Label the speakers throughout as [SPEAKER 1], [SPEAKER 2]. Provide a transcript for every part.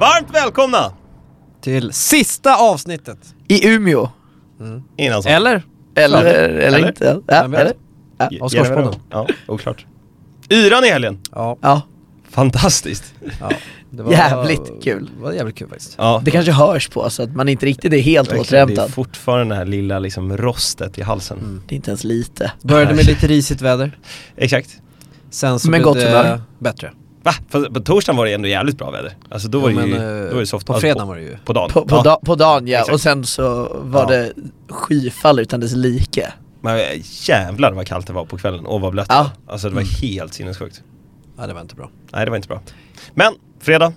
[SPEAKER 1] Varmt välkomna!
[SPEAKER 2] Till sista avsnittet.
[SPEAKER 3] I Umeå.
[SPEAKER 1] Innan så.
[SPEAKER 2] Eller?
[SPEAKER 3] Eller,
[SPEAKER 2] Ja.
[SPEAKER 3] eller,
[SPEAKER 1] Eller?
[SPEAKER 3] inte. Ja,
[SPEAKER 2] Vem vet?
[SPEAKER 3] eller? Ja.
[SPEAKER 1] Ge-
[SPEAKER 2] av Skorspodden.
[SPEAKER 1] ge mig dem. Ja, oklart. Yran i helgen.
[SPEAKER 2] Ja.
[SPEAKER 3] ja.
[SPEAKER 1] Fantastiskt.
[SPEAKER 2] ja det
[SPEAKER 3] Jävligt kul.
[SPEAKER 2] Det var jävligt kul faktiskt.
[SPEAKER 1] Ja.
[SPEAKER 3] Det kanske hörs på så att man inte riktigt är helt
[SPEAKER 1] Verkligen, Det är
[SPEAKER 3] återhämtad.
[SPEAKER 1] fortfarande det här lilla liksom rostet i halsen.
[SPEAKER 2] Mm.
[SPEAKER 3] Det är inte ens lite.
[SPEAKER 2] Började med lite risigt väder,
[SPEAKER 1] Exakt.
[SPEAKER 2] sen så
[SPEAKER 3] Men
[SPEAKER 2] blev
[SPEAKER 3] gott humör.
[SPEAKER 2] det bättre.
[SPEAKER 1] Va? Fast på torsdagen var det ändå jävligt bra väder. Alltså då var det ju,
[SPEAKER 2] eh,
[SPEAKER 1] då var det soft.
[SPEAKER 2] på
[SPEAKER 1] alltså,
[SPEAKER 2] fredagen var det ju.
[SPEAKER 1] På dagen.
[SPEAKER 3] På, på,
[SPEAKER 1] ja.
[SPEAKER 3] da, på dagen ja,
[SPEAKER 1] Exakt.
[SPEAKER 3] och sen så var
[SPEAKER 2] Ja.
[SPEAKER 3] det skyfall utan dess like.
[SPEAKER 1] Men eh, jävlar vad kallt det var på kvällen och vad blött
[SPEAKER 3] Ja.
[SPEAKER 1] det var. Alltså det var helt sinnessjukt.
[SPEAKER 2] Ja det var inte bra. Mm.
[SPEAKER 1] Nej det var inte bra. Men, fredag.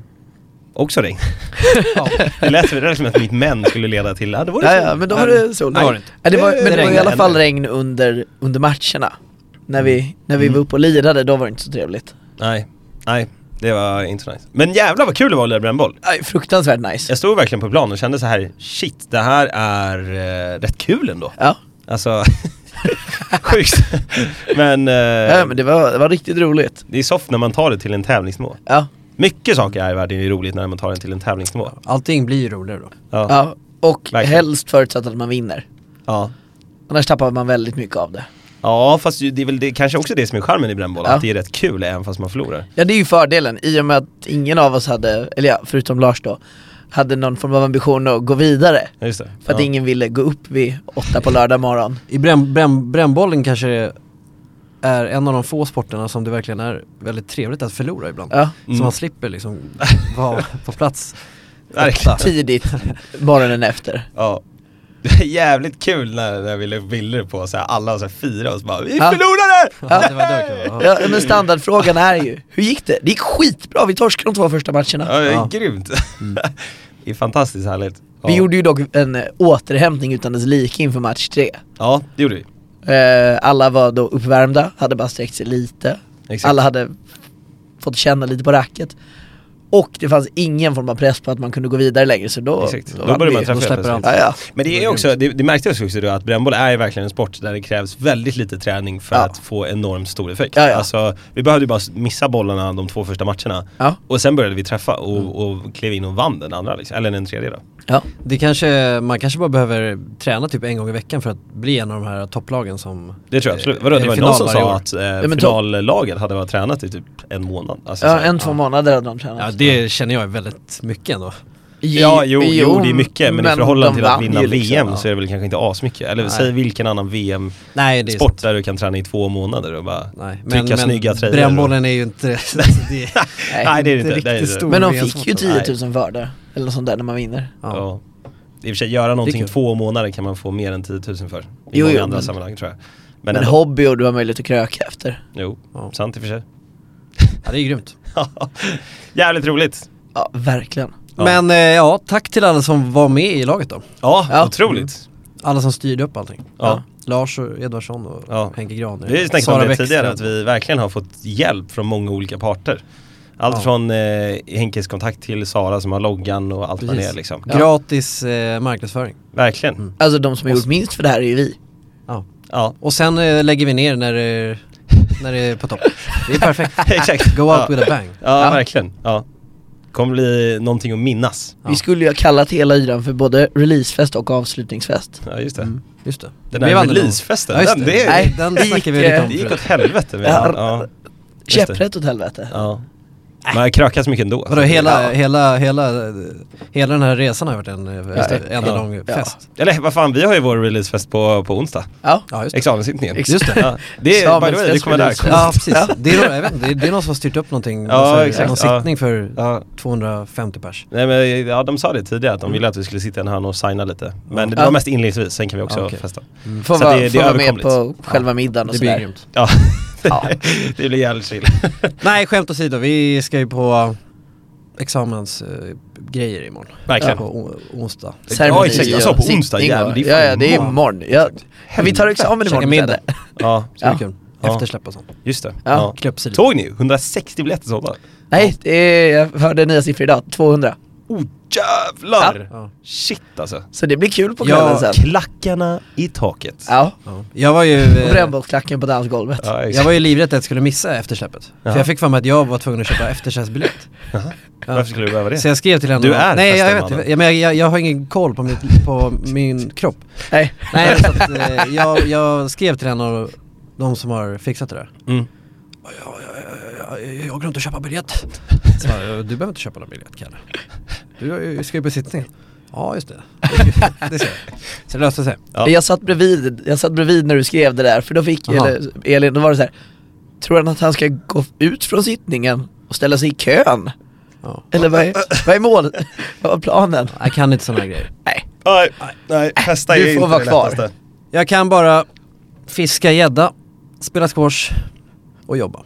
[SPEAKER 1] Också regn.
[SPEAKER 2] Ja.
[SPEAKER 1] Det lät, det lät som att mitt män skulle leda till, ja det var det
[SPEAKER 3] Ja,
[SPEAKER 1] sol.
[SPEAKER 3] ja, men då var det sol.
[SPEAKER 2] det var det inte.
[SPEAKER 3] Ja, det var, men det var i
[SPEAKER 1] regnade
[SPEAKER 3] alla fall
[SPEAKER 1] ändå. Mm.
[SPEAKER 3] regn under, under matcherna. När vi, när vi var uppe och lirade, då var det inte så trevligt.
[SPEAKER 1] Nej, nej. Det var inte så nice. Men jävlar vad kul det var att lira brännboll.
[SPEAKER 3] Aj, fruktansvärt nice.
[SPEAKER 1] Jag stod verkligen på plan och kände så här, shit det här är eh, rätt kul ändå.
[SPEAKER 3] Ja,
[SPEAKER 1] Alltså, sjukt. men, eh,
[SPEAKER 3] ja men det var, det var riktigt roligt.
[SPEAKER 1] det är soft när man tar det till en tävlingsnivå.
[SPEAKER 3] Ja,
[SPEAKER 1] Mycket saker här i världen är roligt när man tar det till en tävlingsnivå.
[SPEAKER 2] Allting blir ju roligare då.
[SPEAKER 1] Ja. ja.
[SPEAKER 3] ja. och
[SPEAKER 1] Verkligen.
[SPEAKER 3] helst förutsatt att man vinner.
[SPEAKER 1] ja.
[SPEAKER 3] Annars tappar man väldigt mycket av det.
[SPEAKER 1] fast ju- det är väl det, kanske också det som är charmen i brännboll,
[SPEAKER 3] Ja.
[SPEAKER 1] att det är rätt kul även fast man förlorar.
[SPEAKER 3] Ja det är ju fördelen, i och med att ingen av oss hade, eller ja, förutom Lars då, hade någon form av ambition att gå vidare.
[SPEAKER 1] Ja, Just det.
[SPEAKER 3] För att
[SPEAKER 1] ja.
[SPEAKER 3] ingen ville gå upp vid åtta på lördag morgon.
[SPEAKER 2] I bränn, bränn, brännbollen kanske det är en av de få sporterna som det verkligen är väldigt trevligt att förlora ibland.
[SPEAKER 3] Ja,
[SPEAKER 1] Mm.
[SPEAKER 2] Så man slipper liksom vara på plats.
[SPEAKER 1] Verkligen.
[SPEAKER 3] tidigt morgonen efter.
[SPEAKER 1] Ja. Det är jävligt kul när, när vi la upp bilder på så här, alla så här, fyra och så bara Vi
[SPEAKER 3] Ja.
[SPEAKER 1] förlorade!
[SPEAKER 2] Ja, det var det var kul. Ja.
[SPEAKER 3] Ja, men standardfrågan är ju, hur gick det? Det gick skitbra, vi torskade de två första matcherna.
[SPEAKER 1] Ja, det är
[SPEAKER 2] Ja.
[SPEAKER 1] grymt. det är fantastiskt härligt. Ja.
[SPEAKER 3] Mm. Vi gjorde ju dock en eh, återhämtning utan dess like inför match tre.
[SPEAKER 1] Ja, det gjorde vi.
[SPEAKER 3] Eh, alla var då uppvärmda, hade bara sträckt sig lite.
[SPEAKER 1] Exakt.
[SPEAKER 3] Alla hade fått känna lite på racket. Och det fanns ingen form av press på att man kunde gå vidare längre så då...
[SPEAKER 1] Exakt. Då
[SPEAKER 3] vann
[SPEAKER 1] började
[SPEAKER 3] vi.
[SPEAKER 1] man träffa
[SPEAKER 2] då släpper
[SPEAKER 1] plötsligt.
[SPEAKER 2] allt.
[SPEAKER 3] Ja, ja.
[SPEAKER 1] Men det är också, det, det märktes också då att brännboll är ju verkligen en sport där det krävs väldigt lite träning för
[SPEAKER 3] Ja.
[SPEAKER 1] att få enormt stor effekt.
[SPEAKER 3] Ja, ja.
[SPEAKER 1] Alltså, vi behövde ju bara missa bollarna de två första matcherna
[SPEAKER 3] Ja.
[SPEAKER 1] och sen började vi träffa
[SPEAKER 3] Mm.
[SPEAKER 1] och, och klev in och vann den andra liksom, eller den tredje då.
[SPEAKER 3] ja.
[SPEAKER 2] Det kanske, man kanske bara behöver träna typ en gång i veckan för att bli en av de här topplagen som
[SPEAKER 1] Det tror jag absolut.
[SPEAKER 2] Eh,
[SPEAKER 1] Vadå,
[SPEAKER 2] är
[SPEAKER 1] det
[SPEAKER 2] det
[SPEAKER 1] var ju
[SPEAKER 2] final
[SPEAKER 1] någon som
[SPEAKER 2] varje
[SPEAKER 1] sa
[SPEAKER 2] år?
[SPEAKER 1] att eh,
[SPEAKER 3] men topp-
[SPEAKER 1] finallaget hade varit tränat i typ en månad. Alltså, så
[SPEAKER 3] ja
[SPEAKER 1] här.
[SPEAKER 3] en, två månader hade de tränat.
[SPEAKER 2] Ja det känner jag är väldigt mycket ändå.
[SPEAKER 1] Ja, jo, jo, det är mycket, men, i förhållande
[SPEAKER 3] de
[SPEAKER 1] till att
[SPEAKER 3] vann
[SPEAKER 1] vinna
[SPEAKER 3] ju
[SPEAKER 1] VM
[SPEAKER 3] liksom.
[SPEAKER 2] ja.
[SPEAKER 1] så är det väl kanske inte asmycket. Eller
[SPEAKER 2] Nej.
[SPEAKER 1] säg vilken annan VM-sport
[SPEAKER 2] Nej det är sant.
[SPEAKER 1] där du kan träna i två månader och bara
[SPEAKER 2] Nej,
[SPEAKER 1] trycka snygga tröjor. och-
[SPEAKER 2] Brännbollen är ju inte, alltså, det är
[SPEAKER 3] Nej,
[SPEAKER 1] Nej det är det
[SPEAKER 2] inte
[SPEAKER 1] inte. Det är det
[SPEAKER 2] riktigt
[SPEAKER 1] inte.
[SPEAKER 2] stor
[SPEAKER 3] Men de
[SPEAKER 2] VM
[SPEAKER 3] fick ju typ-
[SPEAKER 2] sporten.
[SPEAKER 3] 10 000 för det, eller något sånt där när man vinner.
[SPEAKER 2] Ja.
[SPEAKER 1] Ja. I och för sig, göra någonting i
[SPEAKER 2] kul.
[SPEAKER 1] två månader kan man få mer än 10 000 för. I
[SPEAKER 3] Jo,
[SPEAKER 1] många
[SPEAKER 3] jo,
[SPEAKER 1] andra
[SPEAKER 3] men-
[SPEAKER 1] sammanhang tror jag. Men,
[SPEAKER 3] Men,
[SPEAKER 1] ändå,
[SPEAKER 3] hobby och du har möjlighet att kröka efter.
[SPEAKER 1] jo,
[SPEAKER 2] Ja.
[SPEAKER 1] sant i och för sig.
[SPEAKER 2] Ja det är grymt.
[SPEAKER 1] Jävligt roligt!
[SPEAKER 3] Ja, verkligen.
[SPEAKER 1] Ja.
[SPEAKER 2] Men eh, ja, tack till alla som var med i laget då.
[SPEAKER 1] Ja,
[SPEAKER 3] Ja.
[SPEAKER 1] otroligt!
[SPEAKER 2] Alla som styrde upp allting.
[SPEAKER 1] Ja.
[SPEAKER 2] Lars och Edvardsson och
[SPEAKER 1] Ja.
[SPEAKER 2] Henke Graner.
[SPEAKER 1] Vi har ju snackat om det
[SPEAKER 2] Bäckström.
[SPEAKER 1] tidigare, att vi verkligen har fått hjälp från många olika parter. Allt
[SPEAKER 2] Ja.
[SPEAKER 1] från eh, Henkes kontakt till Sara som har loggan och allt vad det är
[SPEAKER 2] Precis. Mm.
[SPEAKER 1] liksom.
[SPEAKER 2] Gratis eh, marknadsföring.
[SPEAKER 1] Verkligen.
[SPEAKER 3] Alltså de som har gjort minst för det här är ju vi.
[SPEAKER 2] Ja.
[SPEAKER 1] Ja,
[SPEAKER 2] Och sen eh, lägger vi ner när det, när det är på topp. Det är perfekt.
[SPEAKER 1] exakt.
[SPEAKER 2] Go out
[SPEAKER 1] ja.
[SPEAKER 2] with a bang.
[SPEAKER 1] Ja,
[SPEAKER 3] Ja.
[SPEAKER 1] verkligen. Ja. Kommer bli någonting att minnas.
[SPEAKER 2] Ja.
[SPEAKER 3] Vi skulle ju ha kallat hela yran för både releasefest och avslutningsfest.
[SPEAKER 1] Ja, just det.
[SPEAKER 2] Just det.
[SPEAKER 1] Den
[SPEAKER 2] Mm. Blev
[SPEAKER 1] där
[SPEAKER 2] aldrig någon.
[SPEAKER 1] releasefesten,
[SPEAKER 2] Ja, just
[SPEAKER 1] den,
[SPEAKER 2] det.
[SPEAKER 1] det,
[SPEAKER 2] Nej,
[SPEAKER 1] är,
[SPEAKER 2] den
[SPEAKER 3] det gick,
[SPEAKER 2] snackade vi lite om
[SPEAKER 1] det gick
[SPEAKER 2] förut.
[SPEAKER 1] åt helvete. med den. Ja. Just det.
[SPEAKER 3] Käpprätt åt helvete.
[SPEAKER 1] Ja. Men jag krökas mycket ändå.
[SPEAKER 2] Vadå, hela,
[SPEAKER 3] Ja.
[SPEAKER 2] hela, hela, hela den här resan har varit en, eh,
[SPEAKER 3] Just det.
[SPEAKER 2] en enda
[SPEAKER 1] Ja.
[SPEAKER 2] lång
[SPEAKER 3] Ja.
[SPEAKER 2] fest.
[SPEAKER 1] Eller vad fan, vi har ju vår releasefest på, på onsdag.
[SPEAKER 3] Ja.
[SPEAKER 2] Ja, just det.
[SPEAKER 1] Examenssittningen.
[SPEAKER 3] Ex-
[SPEAKER 2] Just det.
[SPEAKER 1] Ja. Det är, by the way, det kommer där.
[SPEAKER 3] Examensfest-release.
[SPEAKER 2] Ja precis, Det, är någon, jag vet, inte, det, är, det är någon som har styrt upp någonting,
[SPEAKER 1] Ja,
[SPEAKER 2] någon så här-
[SPEAKER 1] exakt.
[SPEAKER 2] någon
[SPEAKER 1] Ja.
[SPEAKER 2] sittning för
[SPEAKER 1] Ja.
[SPEAKER 2] 250 pers.
[SPEAKER 1] Nej men ja, de sa det tidigare att de ville att vi skulle sitta i en hörna och signa lite. Men det var
[SPEAKER 3] Ja.
[SPEAKER 1] mest inledningsvis, sen kan vi också
[SPEAKER 2] Ja, okej.
[SPEAKER 1] festa.
[SPEAKER 3] Får
[SPEAKER 1] Så
[SPEAKER 3] vara,
[SPEAKER 1] det- det är
[SPEAKER 3] får vara med
[SPEAKER 1] överkomligt.
[SPEAKER 3] på själva middagen och
[SPEAKER 2] Det blir
[SPEAKER 3] sådär.
[SPEAKER 2] grymt.
[SPEAKER 1] Ja,
[SPEAKER 3] Ja.
[SPEAKER 1] det blir jävligt chill.
[SPEAKER 2] Nej skämt åsido, vi ska ju på eh, examensgrejer imorgon.
[SPEAKER 1] Verkligen.
[SPEAKER 2] På o- onsdag.
[SPEAKER 1] Ja, exakt. Jag sa på
[SPEAKER 3] Ceremoni och
[SPEAKER 1] onsdag,
[SPEAKER 3] sittning och-
[SPEAKER 1] jävlar, det är
[SPEAKER 3] Ja,
[SPEAKER 1] fan
[SPEAKER 3] ja, det är
[SPEAKER 1] imorgon.
[SPEAKER 3] imorgon. Ja. Vi tar examen
[SPEAKER 2] Käka
[SPEAKER 3] imorgon.
[SPEAKER 2] middag.
[SPEAKER 3] Fredde.
[SPEAKER 1] Ja,
[SPEAKER 2] Det blir
[SPEAKER 3] Ja.
[SPEAKER 2] kul.
[SPEAKER 1] Ja.
[SPEAKER 2] Eftersläpp och sånt.
[SPEAKER 1] just det.
[SPEAKER 3] Ja.
[SPEAKER 1] Ja.
[SPEAKER 2] Klubbsidor.
[SPEAKER 1] Såg ni? 160 biljetter sålda.
[SPEAKER 3] Nej, det är, jag hörde nya siffror idag. 200.
[SPEAKER 1] oh jävlar!
[SPEAKER 2] Ja.
[SPEAKER 1] Shit alltså.
[SPEAKER 3] Så det blir kul på kvällen
[SPEAKER 1] Ja,
[SPEAKER 3] sen.
[SPEAKER 1] klackarna i taket.
[SPEAKER 3] Ja,
[SPEAKER 2] Ja. Jag var ju...
[SPEAKER 3] och
[SPEAKER 2] eh,
[SPEAKER 3] brännbollsklacken på dansgolvet.
[SPEAKER 1] Ja, exakt.
[SPEAKER 2] Jag var ju livrädd att jag skulle missa eftersläppet.
[SPEAKER 1] Ja.
[SPEAKER 2] För jag fick för mig att jag var tvungen att köpa eftersäljsbiljett.
[SPEAKER 1] Varför skulle du behöva
[SPEAKER 2] Så
[SPEAKER 1] det?
[SPEAKER 2] jag skrev till henne.
[SPEAKER 1] Du är
[SPEAKER 2] Nej jag vet
[SPEAKER 1] festen,
[SPEAKER 2] inte. Ja, men jag, jag, jag har ingen koll på min, på min kropp.
[SPEAKER 3] Nej.
[SPEAKER 2] Nej så att, eh, jag, jag skrev till en av de som har fixat det där.
[SPEAKER 1] Mm.
[SPEAKER 2] Jag, jag, jag, jag har glömt att köpa biljett. Så, bara, du behöver inte köpa någon biljett Kalle. Du har ju- ska ju på sittningen. Ja just det. Det ser jag. Så det löste sig.
[SPEAKER 1] Ja.
[SPEAKER 3] Jag, satt bredvid, jag satt bredvid när du skrev det där, för då fick
[SPEAKER 2] Aha.
[SPEAKER 3] eller, Elin, då var det så här. Tror han att han ska gå ut från sittningen och ställa sig i kön?
[SPEAKER 2] Ja.
[SPEAKER 3] Eller vad är, vad är målet? Vad var planen?
[SPEAKER 2] Jag kan inte sådana grejer.
[SPEAKER 3] Nej.
[SPEAKER 1] Nej, nej, hästar
[SPEAKER 3] Du
[SPEAKER 1] är
[SPEAKER 3] får
[SPEAKER 1] inte
[SPEAKER 3] vara
[SPEAKER 1] det
[SPEAKER 3] kvar.
[SPEAKER 1] lättaste.
[SPEAKER 2] Jag kan bara fiska gädda, spela squash och jobba.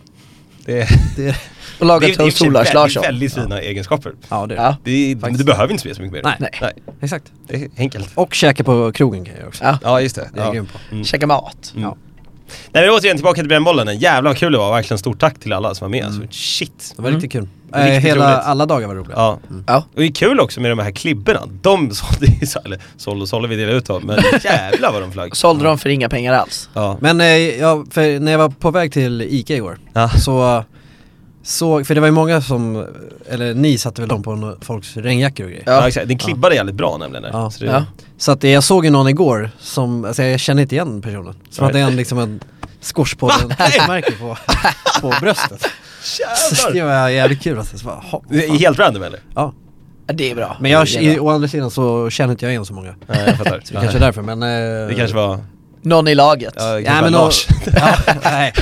[SPEAKER 1] Det är,
[SPEAKER 2] Det,
[SPEAKER 3] Och
[SPEAKER 1] det är,
[SPEAKER 3] laga
[SPEAKER 1] i och för
[SPEAKER 3] toast
[SPEAKER 1] sig
[SPEAKER 3] Ola
[SPEAKER 1] väldigt,
[SPEAKER 3] Larsson.
[SPEAKER 1] väldigt fina egenskaper.
[SPEAKER 2] ja det är
[SPEAKER 3] Ja,
[SPEAKER 1] Det är, men du
[SPEAKER 2] Faktiskt.
[SPEAKER 1] behöver inte spela så mycket mer.
[SPEAKER 2] Nej.
[SPEAKER 3] Nej.
[SPEAKER 2] exakt.
[SPEAKER 1] Det är enkelt.
[SPEAKER 2] Och käka på krogen kan jag göra också.
[SPEAKER 3] Ja.
[SPEAKER 1] Ja, just det.
[SPEAKER 2] Det är jag
[SPEAKER 1] Ja.
[SPEAKER 2] grym på.
[SPEAKER 1] Mm.
[SPEAKER 3] käka mat.
[SPEAKER 1] Mm.
[SPEAKER 2] Ja.
[SPEAKER 1] Nej men återigen tillbaka till brännbollen, jävlar vad kul det var, verkligen stort tack till alla som var med alltså, shit!
[SPEAKER 2] Det var
[SPEAKER 3] Mm.
[SPEAKER 2] riktigt kul. Eh,
[SPEAKER 1] Riktigt
[SPEAKER 2] hela,
[SPEAKER 1] roligt.
[SPEAKER 2] alla dagar var roliga.
[SPEAKER 1] Ja.
[SPEAKER 3] Ja.
[SPEAKER 1] Och det är kul också med de här klibborna, de sålde ju, så- eller sålde och sålde vi delade ut dem, men jävlar vad de flög!
[SPEAKER 3] Sålde de för inga pengar alls.
[SPEAKER 1] Ja.
[SPEAKER 2] Men eh, jag, för när jag var på väg till ICA igår,
[SPEAKER 1] Ja.
[SPEAKER 2] så så, för det var ju många som, eller ni satte väl dem på no- folks regnjackor och grejer.
[SPEAKER 1] Ja,
[SPEAKER 3] Ja.
[SPEAKER 1] exakt, den klibbade jävligt bra nämligen där.
[SPEAKER 2] Ja.
[SPEAKER 1] Så det,
[SPEAKER 3] Ja.
[SPEAKER 2] Så att eh, jag såg ju någon igår som, alltså jag känner inte igen personen. Som
[SPEAKER 1] Nej.
[SPEAKER 2] hade en liksom en Squashpodden-märke på, på bröstet. Så det
[SPEAKER 1] Jävlar!
[SPEAKER 2] var jävligt kul alltså. Så bara, "Ha,
[SPEAKER 1] Det är
[SPEAKER 2] fan."
[SPEAKER 1] helt random eller?
[SPEAKER 2] ja.
[SPEAKER 3] Ja, det är bra.
[SPEAKER 2] Men jag,
[SPEAKER 3] Det är
[SPEAKER 2] i,
[SPEAKER 3] bra.
[SPEAKER 2] å andra sidan så känner inte jag igen så många.
[SPEAKER 1] Nej jag fattar.
[SPEAKER 2] Det kanske är därför men... eh,
[SPEAKER 1] det kanske var,
[SPEAKER 3] Någon i laget.
[SPEAKER 1] ja, det kanske
[SPEAKER 2] Nej
[SPEAKER 1] var
[SPEAKER 2] men, och,
[SPEAKER 1] Lars.
[SPEAKER 2] ja, nej.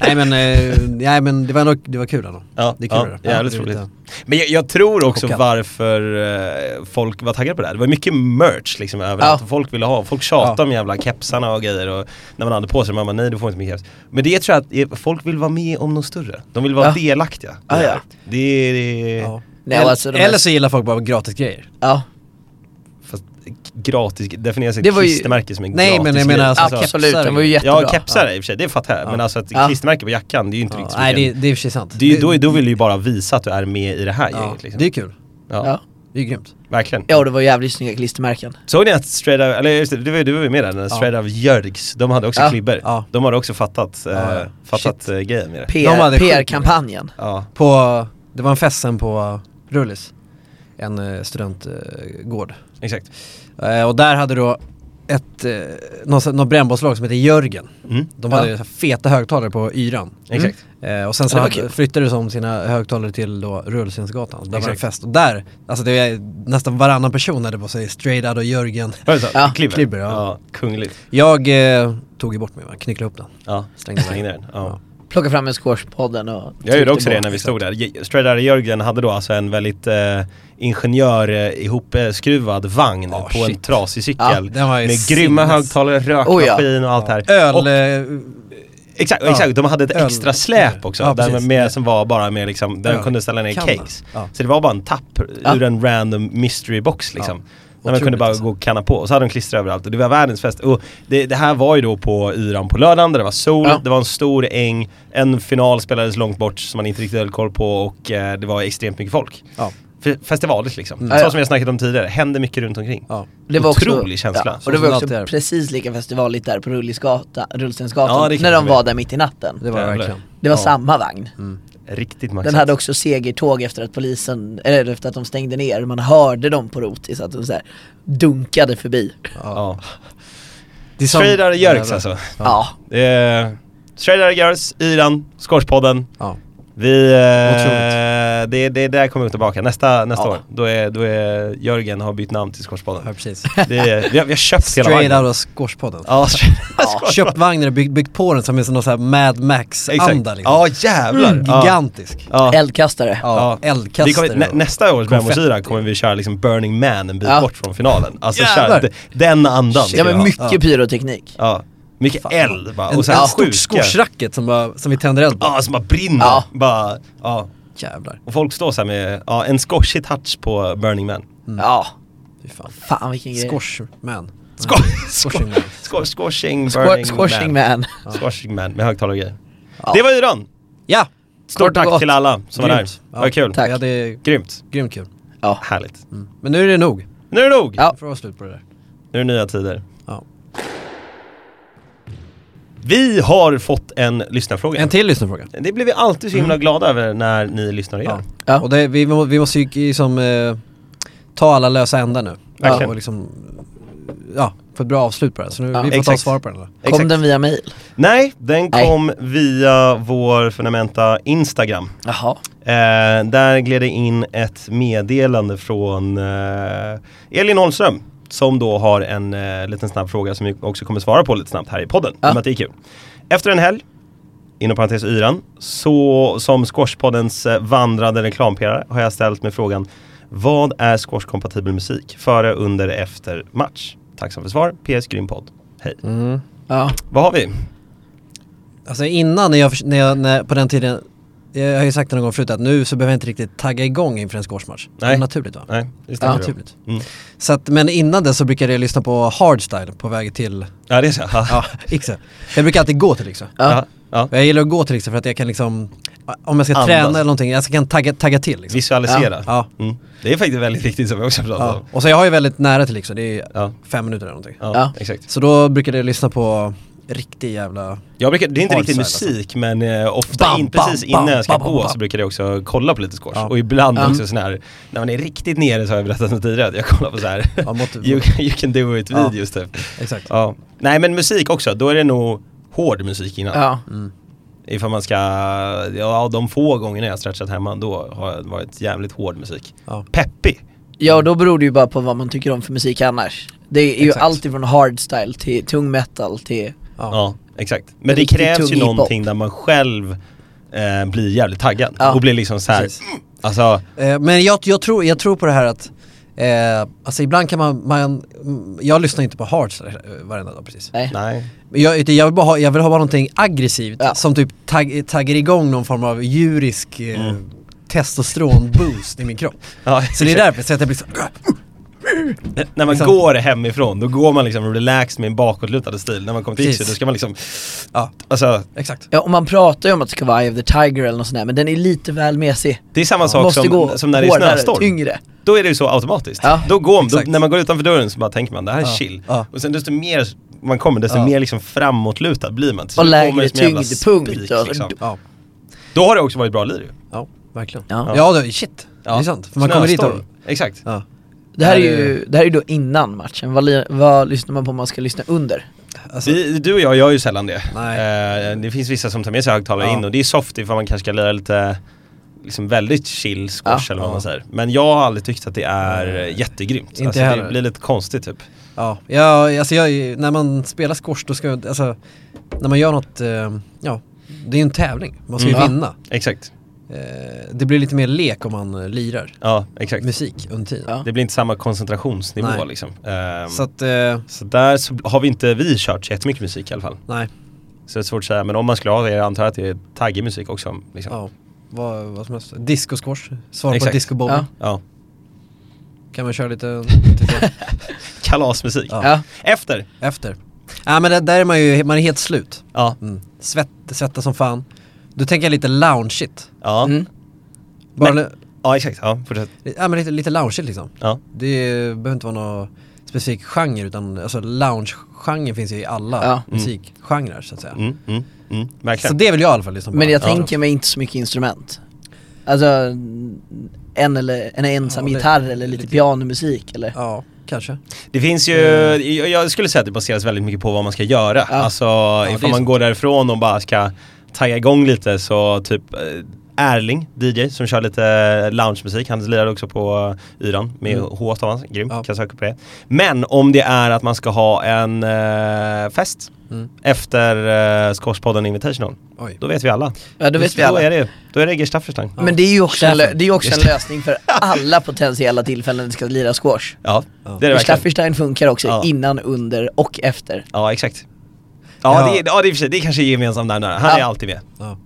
[SPEAKER 2] nej men, eh, nej men det var ändå, det var kul ändå.
[SPEAKER 1] Ja,
[SPEAKER 2] det är
[SPEAKER 1] ja,
[SPEAKER 2] kul det.
[SPEAKER 1] jävligt
[SPEAKER 2] det är
[SPEAKER 1] roligt.
[SPEAKER 2] lite-
[SPEAKER 1] Men jag, jag tror också
[SPEAKER 2] Chockad.
[SPEAKER 1] varför eh, folk var taggade på det här. Det var mycket merch liksom överallt.
[SPEAKER 3] Ja.
[SPEAKER 1] Folk ville ha, folk tjatade
[SPEAKER 2] Ja.
[SPEAKER 1] om jävla kepsarna och grejer och när man hade på sig, man bara nej du får inte min keps. Men det tror jag att eh, folk vill vara med om något större. De vill vara
[SPEAKER 3] Ja.
[SPEAKER 1] delaktiga. i
[SPEAKER 3] Ja,
[SPEAKER 1] det
[SPEAKER 3] ja.
[SPEAKER 1] här. Det är... Det är
[SPEAKER 2] Ja.
[SPEAKER 3] Nej,
[SPEAKER 2] Eller-
[SPEAKER 3] alltså de här-
[SPEAKER 2] Eller så gillar folk bara gratis grejer.
[SPEAKER 3] Ja.
[SPEAKER 1] Fast gratis, definieras
[SPEAKER 3] Det
[SPEAKER 1] ett
[SPEAKER 3] var ju-
[SPEAKER 1] klistermärke som en
[SPEAKER 2] Nej,
[SPEAKER 1] gratis
[SPEAKER 2] men jag menar
[SPEAKER 1] grej?
[SPEAKER 2] alltså-
[SPEAKER 1] Alltså,
[SPEAKER 3] Absolut, den var ju jättebra.
[SPEAKER 1] Ja kepsar i och för sig, det fattar jag.
[SPEAKER 2] Ja.
[SPEAKER 1] Men alltså ett
[SPEAKER 3] Ja.
[SPEAKER 1] klistermärke på jackan, det är ju inte
[SPEAKER 2] Ja,
[SPEAKER 1] riktigt så
[SPEAKER 2] nej det,
[SPEAKER 1] mycket.
[SPEAKER 2] det är i och för sig sant.
[SPEAKER 1] det, är ju- då, då vill du ju bara visa att du är med i det här
[SPEAKER 2] ja,
[SPEAKER 1] gänget liksom.
[SPEAKER 2] Det är kul.
[SPEAKER 1] ja.
[SPEAKER 3] Ja.
[SPEAKER 2] Det är grymt.
[SPEAKER 1] verkligen.
[SPEAKER 3] ja, och det var jävligt snygga klistermärken.
[SPEAKER 1] Såg ni att Straight Out, eller just det, du var ju- du var ju med där, när Straight Out Jörgs, de hade också
[SPEAKER 3] Ja,
[SPEAKER 1] klibbor.
[SPEAKER 2] ja.
[SPEAKER 1] De hade också fattat, eh,
[SPEAKER 2] Ja,
[SPEAKER 1] fattat eh, grejen med det.
[SPEAKER 2] De hade
[SPEAKER 3] PR-
[SPEAKER 2] sjukt många.
[SPEAKER 3] PR-kampanjen.
[SPEAKER 1] Ja,
[SPEAKER 2] På, det var en fest sen på Rullis. En eh, studentgård.
[SPEAKER 1] exakt.
[SPEAKER 2] Eh, och där hade då ett, eh, något, något brännbollslag som heter Jörgen.
[SPEAKER 1] Mm.
[SPEAKER 2] De
[SPEAKER 3] Ja.
[SPEAKER 2] hade så här feta högtalare på yran.
[SPEAKER 1] Exakt.
[SPEAKER 2] Eh, och sen så
[SPEAKER 3] Ja, det var
[SPEAKER 2] hade,
[SPEAKER 3] kul.
[SPEAKER 2] flyttade de om sina högtalare till då Rullstensgatan. Där var det
[SPEAKER 1] Exakt.
[SPEAKER 2] fest. Och där, alltså det är nästan varannan person hade på sig Straight Outta Jörgen.
[SPEAKER 1] Var det så?
[SPEAKER 3] Ja,
[SPEAKER 1] Klibbor?
[SPEAKER 2] klibbor, ja.
[SPEAKER 1] kungligt.
[SPEAKER 2] Jag eh, tog ju bort mig, va? knycklade upp den.
[SPEAKER 1] Ja,
[SPEAKER 2] Stängde
[SPEAKER 1] stäng ner
[SPEAKER 2] den.
[SPEAKER 1] den. Ja.
[SPEAKER 3] Plocka fram en squashpodden och...
[SPEAKER 1] Jag gjorde
[SPEAKER 3] tryckte
[SPEAKER 1] också det
[SPEAKER 3] på.
[SPEAKER 1] när vi stod där. J- Straight Outta Jörgen hade då alltså en väldigt eh, ingenjör eh, ihopskruvad vagn
[SPEAKER 2] Ja,
[SPEAKER 1] på en
[SPEAKER 2] Ah, shit.
[SPEAKER 1] trasig cykel.
[SPEAKER 2] den var ju
[SPEAKER 1] med grymma
[SPEAKER 2] sinnes- Oh,
[SPEAKER 1] högtalare, rökmaskin och allt det här.
[SPEAKER 2] Öl,
[SPEAKER 1] Och
[SPEAKER 2] eh,
[SPEAKER 1] Exakt,
[SPEAKER 2] Ja.
[SPEAKER 1] exakt, de hade ett
[SPEAKER 2] Öl.
[SPEAKER 1] extra släp också,
[SPEAKER 2] Ja,
[SPEAKER 1] där
[SPEAKER 2] precis.
[SPEAKER 1] med, som var bara med liksom, där man
[SPEAKER 2] Öl.
[SPEAKER 1] kunde ställa ner
[SPEAKER 2] Kanna.
[SPEAKER 1] cakes.
[SPEAKER 2] Ja.
[SPEAKER 1] Så det var bara en tapp
[SPEAKER 3] Ja.
[SPEAKER 1] ur en random mystery box liksom.
[SPEAKER 2] Ja.
[SPEAKER 1] Där man kunde
[SPEAKER 2] Otroligt,
[SPEAKER 1] bara
[SPEAKER 2] alltså.
[SPEAKER 1] gå och kanna på, och så hade de klister överallt och det var världens fest. Och det, det här var ju då på yran på lördagen där det var sol,
[SPEAKER 3] Ja.
[SPEAKER 1] det var en stor äng, en final spelades långt bort som man inte riktigt höll koll på och eh, det var extremt mycket folk.
[SPEAKER 2] ja,
[SPEAKER 1] Fe- Festivaligt liksom.
[SPEAKER 2] Mm.
[SPEAKER 1] Så
[SPEAKER 3] Ja, ja.
[SPEAKER 1] som vi har snackat om tidigare, hände mycket runt omkring.
[SPEAKER 2] ja.
[SPEAKER 3] Det var också-
[SPEAKER 1] Otrolig känsla.
[SPEAKER 3] Ja,
[SPEAKER 1] Så
[SPEAKER 3] och det
[SPEAKER 2] som
[SPEAKER 3] var
[SPEAKER 2] det
[SPEAKER 3] också
[SPEAKER 2] alltid är.
[SPEAKER 3] precis lika festivaligt där på Rullstensgatan, Rullstensgatan
[SPEAKER 1] Ja, det kan
[SPEAKER 3] när
[SPEAKER 1] jag
[SPEAKER 3] de
[SPEAKER 1] bli.
[SPEAKER 3] var där mitt i natten.
[SPEAKER 2] det var det
[SPEAKER 1] Jävlar.
[SPEAKER 2] verkligen. Mm.
[SPEAKER 3] Det var
[SPEAKER 1] Ja.
[SPEAKER 3] samma vagn.
[SPEAKER 1] Riktigt maxat.
[SPEAKER 3] Den hade också segertåg efter att polisen, eller efter att de stängde ner, man hörde dem på Rotis att de så här dunkade förbi. Ja,
[SPEAKER 1] Ja.
[SPEAKER 2] Det är som-
[SPEAKER 1] Straight Outta Jörgs
[SPEAKER 2] Ja,
[SPEAKER 1] alltså.
[SPEAKER 3] ja.
[SPEAKER 1] Eh, Straight Outta Girls, Yran, Skorspodden.
[SPEAKER 2] Ja.
[SPEAKER 1] Vi, eh,
[SPEAKER 2] Otroligt.
[SPEAKER 1] det, det där kommer vi tillbaka nästa, nästa
[SPEAKER 3] Ja.
[SPEAKER 1] år. Då är, då är Jörgen har bytt namn till
[SPEAKER 2] ja,
[SPEAKER 1] Skorspodden.
[SPEAKER 2] precis.
[SPEAKER 1] Det är, vi, har, vi har köpt hela
[SPEAKER 2] Straight
[SPEAKER 1] vagnen.
[SPEAKER 2] Outta Squashpodden.
[SPEAKER 1] Ja,
[SPEAKER 2] Köpt vagnen och byggt, byggt på den som en sån här Mad Max-anda
[SPEAKER 1] exakt.
[SPEAKER 2] liksom.
[SPEAKER 1] Ja jävlar. Ja.
[SPEAKER 2] Gigantisk.
[SPEAKER 1] Ja.
[SPEAKER 3] eldkastare.
[SPEAKER 2] Ja,
[SPEAKER 1] Vi
[SPEAKER 2] eldkastare.
[SPEAKER 1] kommer, nä,
[SPEAKER 2] och-
[SPEAKER 1] nästa års
[SPEAKER 2] konfetti.
[SPEAKER 1] Brännbollsyra kommer vi köra liksom Burning Man en bit
[SPEAKER 3] Ja.
[SPEAKER 1] bort från finalen. Alltså
[SPEAKER 2] Jävlar.
[SPEAKER 1] köra d- den andan.
[SPEAKER 3] Ja
[SPEAKER 1] ska vi
[SPEAKER 3] men
[SPEAKER 1] ha.
[SPEAKER 3] mycket
[SPEAKER 2] Ja.
[SPEAKER 3] pyroteknik.
[SPEAKER 1] ja. Mycket
[SPEAKER 2] Fan.
[SPEAKER 1] eld bara.
[SPEAKER 2] En,
[SPEAKER 1] Och så
[SPEAKER 2] en
[SPEAKER 1] här
[SPEAKER 2] stort
[SPEAKER 1] sjuka.
[SPEAKER 2] skorsracket som, bara- som vi tänder eld på.
[SPEAKER 1] Ja, som bara brinner.
[SPEAKER 3] Ja.
[SPEAKER 1] Bara, ja.
[SPEAKER 2] Jävlar.
[SPEAKER 1] Och folk står så här med, ja, en skorshig touch på Burning Man.
[SPEAKER 3] Ja,
[SPEAKER 2] Fy fan.
[SPEAKER 3] fan vilken grej.
[SPEAKER 2] Squashman.
[SPEAKER 1] Skor-
[SPEAKER 2] Squashing man.
[SPEAKER 1] skor- Squashing
[SPEAKER 3] Squashing
[SPEAKER 1] burning
[SPEAKER 3] squashing
[SPEAKER 1] man.
[SPEAKER 3] man.
[SPEAKER 1] Squashing man med högtalare och grejer.
[SPEAKER 3] Ja.
[SPEAKER 1] Det var yran!
[SPEAKER 2] Ja!
[SPEAKER 1] Stort
[SPEAKER 3] Kort och
[SPEAKER 1] tack
[SPEAKER 3] gott.
[SPEAKER 1] till alla som var där.
[SPEAKER 2] Grymt.
[SPEAKER 1] Det var
[SPEAKER 2] Ja.
[SPEAKER 1] kul.
[SPEAKER 3] Tack.
[SPEAKER 2] Vi hade
[SPEAKER 1] Grymt.
[SPEAKER 2] grymt kul.
[SPEAKER 3] Ja.
[SPEAKER 1] Härligt.
[SPEAKER 2] Mm. Men nu är det nog.
[SPEAKER 1] Nu är det nog!
[SPEAKER 3] Ja.
[SPEAKER 2] Nu får det vara slut på det där.
[SPEAKER 1] Nu är det nya tider.
[SPEAKER 2] Ja.
[SPEAKER 1] Oh, Vi har fått en lyssnarfråga.
[SPEAKER 2] En till lyssnarfråga.
[SPEAKER 1] det blir vi alltid så himla glada över när ni lyssnar igen.
[SPEAKER 3] Mm. Ja.
[SPEAKER 2] Och det, vi, må- vi måste ju liksom eh, ta alla lösa ändar nu.
[SPEAKER 1] Verkligen.
[SPEAKER 2] Och liksom, ja, få ett bra avslut på det här. Så nu,
[SPEAKER 3] Ja.
[SPEAKER 2] vi får ta
[SPEAKER 1] Exakt.
[SPEAKER 2] svar på den då.
[SPEAKER 3] Kom den via mail?
[SPEAKER 1] Nej, den
[SPEAKER 3] Nej.
[SPEAKER 1] kom via vår fundamenta Instagram.
[SPEAKER 3] Jaha.
[SPEAKER 1] Eh, där gled det in ett meddelande från eh, Elin Holmström som då har en eh, liten snabb fråga som vi också kommer svara på lite snabbt här i podden.
[SPEAKER 3] Ja.
[SPEAKER 1] Ja. Att det är kul. Efter en helg, inom parentes yran, så som Squashpoddens eh, vandrande reklampelare har jag ställt mig frågan Vad är Squash-kompatibel musik? Före, under, efter match? Tacksam för svar. PS Grym podd. Hej.
[SPEAKER 2] Mm.
[SPEAKER 3] Ja.
[SPEAKER 1] Vad har vi?
[SPEAKER 2] Alltså innan, när jag, förs- när jag när, på den tiden, jag har ju sagt det någon gång förut att nu så behöver jag inte riktigt tagga igång inför en squashmatch.
[SPEAKER 1] Nej.
[SPEAKER 2] Naturligt va?
[SPEAKER 1] Nej, det
[SPEAKER 3] Ja,
[SPEAKER 1] stämmer bra.
[SPEAKER 2] Naturligt.
[SPEAKER 1] Mm.
[SPEAKER 2] Så att, men innan det så brukade jag lyssna på hardstyle på väg till,
[SPEAKER 1] Ja, det är så. Ja.
[SPEAKER 2] ja, Ixö. Jag brukar alltid gå till Ixö.
[SPEAKER 1] Ja. Ja.
[SPEAKER 2] Jag gillar att gå till Ixö för att jag kan liksom, om jag ska
[SPEAKER 1] Andas.
[SPEAKER 2] träna eller någonting, jag ska kan tagga, tagga till liksom.
[SPEAKER 1] Visualisera.
[SPEAKER 2] Ja.
[SPEAKER 1] Mm. Det är faktiskt väldigt viktigt som vi också pratat
[SPEAKER 2] Ja.
[SPEAKER 1] om.
[SPEAKER 2] Och så jag har ju väldigt nära till Ixö, det är
[SPEAKER 1] Ja.
[SPEAKER 2] fem minuter eller någonting.
[SPEAKER 1] Ja,
[SPEAKER 3] Ja.
[SPEAKER 1] exakt.
[SPEAKER 2] Så då brukade jag lyssna på riktig jävla,
[SPEAKER 1] Jag brukar, det är inte
[SPEAKER 2] Hard
[SPEAKER 1] riktigt
[SPEAKER 2] side,
[SPEAKER 1] musik men eh, ofta
[SPEAKER 2] alltså. Bam,
[SPEAKER 1] in,
[SPEAKER 2] bam,
[SPEAKER 1] precis
[SPEAKER 2] bam,
[SPEAKER 1] innan jag ska
[SPEAKER 2] bam,
[SPEAKER 1] gå
[SPEAKER 2] bam,
[SPEAKER 1] så
[SPEAKER 2] bam.
[SPEAKER 1] brukar jag också kolla på lite squash.
[SPEAKER 2] Ja.
[SPEAKER 1] Och ibland
[SPEAKER 3] Ja.
[SPEAKER 1] också sån här, när man är riktigt nere så har jag berättat det tidigare, att jag kollar på så här
[SPEAKER 2] ja, mot-
[SPEAKER 1] you, you can do it
[SPEAKER 2] Ja.
[SPEAKER 1] videos typ.
[SPEAKER 2] exakt.
[SPEAKER 1] Ja. Nej men musik också, då är det nog hård musik innan.
[SPEAKER 3] Ja.
[SPEAKER 2] Mm.
[SPEAKER 1] Ifall man ska, ja de få gångerna jag har stretchat hemma då har det varit jävligt hård musik.
[SPEAKER 2] Ja.
[SPEAKER 1] Peppig.
[SPEAKER 3] ja, då beror det ju bara på vad man tycker om för musik annars. Det är ju
[SPEAKER 1] Exakt.
[SPEAKER 3] allt ifrån hardstyle till tung metal till...
[SPEAKER 2] Ja.
[SPEAKER 1] Ja, exakt. Men det
[SPEAKER 3] Riktigt
[SPEAKER 1] krävs ju
[SPEAKER 3] tung hiphop.
[SPEAKER 1] någonting där man själv eh, blir jävligt taggad
[SPEAKER 3] Ja.
[SPEAKER 1] och blir liksom så här,
[SPEAKER 2] Precis.
[SPEAKER 1] alltså
[SPEAKER 2] Eh, men jag, jag, tror, jag tror på det här att, eh, alltså ibland kan man, man, mm, jag lyssnar inte på hardstyle eh, varenda dag precis.
[SPEAKER 3] Nej.
[SPEAKER 1] nej.
[SPEAKER 2] Men Jag, jag, vill bara ha, jag vill ha bara någonting aggressivt
[SPEAKER 3] Ja.
[SPEAKER 2] som typ tag, taggar igång någon form av djurisk eh,
[SPEAKER 1] Mm.
[SPEAKER 2] testosteronboost i min kropp.
[SPEAKER 1] Ja,
[SPEAKER 2] Så det är därför så att jag blir så,
[SPEAKER 1] När man
[SPEAKER 2] Liksom-
[SPEAKER 1] går hemifrån, då går man liksom relaxed med en bakåtlutad stil. När man kommer till
[SPEAKER 2] Precis.
[SPEAKER 1] Ixu, då ska man liksom,
[SPEAKER 2] ja
[SPEAKER 1] alltså
[SPEAKER 2] exakt.
[SPEAKER 3] Ja, och man pratar ju om att det ska vara Eye of the Tiger eller något sånt där, men den är lite väl mesig.
[SPEAKER 1] det är samma sak
[SPEAKER 3] Måste
[SPEAKER 1] som,
[SPEAKER 3] gå
[SPEAKER 1] som när det är
[SPEAKER 3] hårdare,
[SPEAKER 1] snöstorm.
[SPEAKER 3] tyngre.
[SPEAKER 1] Då är det ju så automatiskt.
[SPEAKER 3] Ja,
[SPEAKER 1] då går man,
[SPEAKER 2] exakt.
[SPEAKER 1] då, när man går utanför dörren så bara tänker man det här är
[SPEAKER 2] Ja,
[SPEAKER 1] chill.
[SPEAKER 2] ja.
[SPEAKER 1] Och sen desto mer man kommer, desto
[SPEAKER 2] Ja.
[SPEAKER 1] mer liksom framåtlutad blir man. Till
[SPEAKER 3] Och
[SPEAKER 1] slut
[SPEAKER 3] lägre
[SPEAKER 1] kommer det som en jävla
[SPEAKER 3] tyngdpunkt
[SPEAKER 1] spik,
[SPEAKER 3] och-
[SPEAKER 1] liksom.
[SPEAKER 2] Ja,
[SPEAKER 1] Då har det också varit bra lir ju.
[SPEAKER 2] ja verkligen.
[SPEAKER 3] Ja.
[SPEAKER 2] Ja, det, shit,
[SPEAKER 1] Ja.
[SPEAKER 2] det är sant. För man kommer dit
[SPEAKER 1] Snöstorm.
[SPEAKER 2] och,
[SPEAKER 1] Exakt.
[SPEAKER 2] ja.
[SPEAKER 3] Det här är
[SPEAKER 2] Här är
[SPEAKER 3] ju det här är ju då innan matchen, vad, li- vad lyssnar man på om man ska lyssna under?
[SPEAKER 2] Alltså,
[SPEAKER 1] Vi, du och jag gör ju sällan det.
[SPEAKER 2] Nej.
[SPEAKER 1] Eh, det finns vissa som tar med sig högtalare
[SPEAKER 2] Ja.
[SPEAKER 1] in och det är soft ifall man kanske ska lira lite liksom väldigt chill squash
[SPEAKER 3] Ja.
[SPEAKER 1] eller vad
[SPEAKER 2] Ja.
[SPEAKER 1] man säger. Men jag har aldrig tyckt att det är eh, jättegrymt.
[SPEAKER 2] Inte
[SPEAKER 1] alltså, det
[SPEAKER 2] heller.
[SPEAKER 1] blir lite konstigt typ.
[SPEAKER 2] Ja, ja alltså jag, när man spelar squash då ska jag, alltså, när man gör något, eh, ja, det är ju en tävling, man ska ju
[SPEAKER 1] Mm.
[SPEAKER 2] vinna.
[SPEAKER 1] Exakt.
[SPEAKER 2] Eh, det blir lite mer lek om man eh, lirar
[SPEAKER 1] Ja, exakt.
[SPEAKER 2] musik under tiden.
[SPEAKER 3] Ja.
[SPEAKER 1] Det blir inte samma koncentrationsnivå
[SPEAKER 2] Nej.
[SPEAKER 1] liksom. Ehm,
[SPEAKER 2] Så
[SPEAKER 1] så.
[SPEAKER 2] att, eh,
[SPEAKER 1] där så har vi inte vi kört så jättemycket musik i alla fall.
[SPEAKER 2] nej,
[SPEAKER 1] Så det är svårt att säga, men om man skulle ha det, jag antar att det är taggig musik också. Liksom. Ja.
[SPEAKER 2] ja, vad, vad som helst. Discosquash, svar på
[SPEAKER 1] Exakt.
[SPEAKER 2] discobowling.
[SPEAKER 3] Ja.
[SPEAKER 2] Kan man köra lite, lite
[SPEAKER 1] Kalasmusik.
[SPEAKER 2] Ja.
[SPEAKER 3] Ja,
[SPEAKER 1] Efter!
[SPEAKER 2] efter? Ja men där, där är man ju, man är helt slut.
[SPEAKER 1] Ja.
[SPEAKER 2] Mm. Svett, svettas som fan. Då tänker jag lite lounge-shit.
[SPEAKER 1] Ja.
[SPEAKER 3] Mm.
[SPEAKER 2] Bara,
[SPEAKER 1] Men- ja, exakt. Ja, fortsätt.
[SPEAKER 2] ja men lite, lite lounge-shit liksom.
[SPEAKER 1] Ja.
[SPEAKER 2] Det behöver inte vara någon specifik genre utan alltså lounge-genren finns ju i alla
[SPEAKER 3] Ja. Mm.
[SPEAKER 2] musikgenrer så att säga.
[SPEAKER 1] Mm, mm, mm.
[SPEAKER 2] Så
[SPEAKER 1] Verkligen.
[SPEAKER 2] det vill jag i alla fall lyssna på.
[SPEAKER 3] men jag
[SPEAKER 2] Ja.
[SPEAKER 3] tänker mig inte så mycket instrument. Alltså, en, eller, en ensam
[SPEAKER 2] Ja, det-
[SPEAKER 3] gitarr eller lite pianomusik eller?
[SPEAKER 2] Ja, kanske.
[SPEAKER 1] Det finns ju,
[SPEAKER 2] Mm.
[SPEAKER 1] jag- jag skulle säga att det baseras väldigt mycket på vad man ska göra.
[SPEAKER 3] Ja.
[SPEAKER 1] Alltså
[SPEAKER 2] det är
[SPEAKER 1] ifall man
[SPEAKER 2] sant.
[SPEAKER 1] går därifrån och bara ska tagga igång lite så typ eh, Erling, DJ, som kör lite eh, loungemusik. Han lirade också på eh, Yran med
[SPEAKER 2] Mm.
[SPEAKER 1] H stavas, grym,
[SPEAKER 2] Ja.
[SPEAKER 1] kan söka på det. Men om det är att man ska ha en eh, fest
[SPEAKER 2] Mm.
[SPEAKER 1] efter eh, Skorspodden Invitational,
[SPEAKER 2] Oj.
[SPEAKER 1] då vet vi alla.
[SPEAKER 3] Ja, då vet vi alla.
[SPEAKER 1] Då är det, då är det Gestafferstang.
[SPEAKER 2] Ja.
[SPEAKER 3] Men det är ju också, en, lö-
[SPEAKER 2] Steffen.
[SPEAKER 3] det är ju också en
[SPEAKER 1] Just
[SPEAKER 3] lösning för alla potentiella tillfällen det ska lira squash.
[SPEAKER 1] Ja,
[SPEAKER 2] Ja.
[SPEAKER 1] det är det verkligen.
[SPEAKER 3] Schlafferstein funkar också
[SPEAKER 1] Ja.
[SPEAKER 3] innan, under och efter.
[SPEAKER 1] Ja, exakt. Ja,
[SPEAKER 2] Ja.
[SPEAKER 1] Det, är- ja, det är i och för sig, det är kanske är gemensam nämnare. Han
[SPEAKER 3] Ja.
[SPEAKER 1] är alltid med.
[SPEAKER 2] Ja.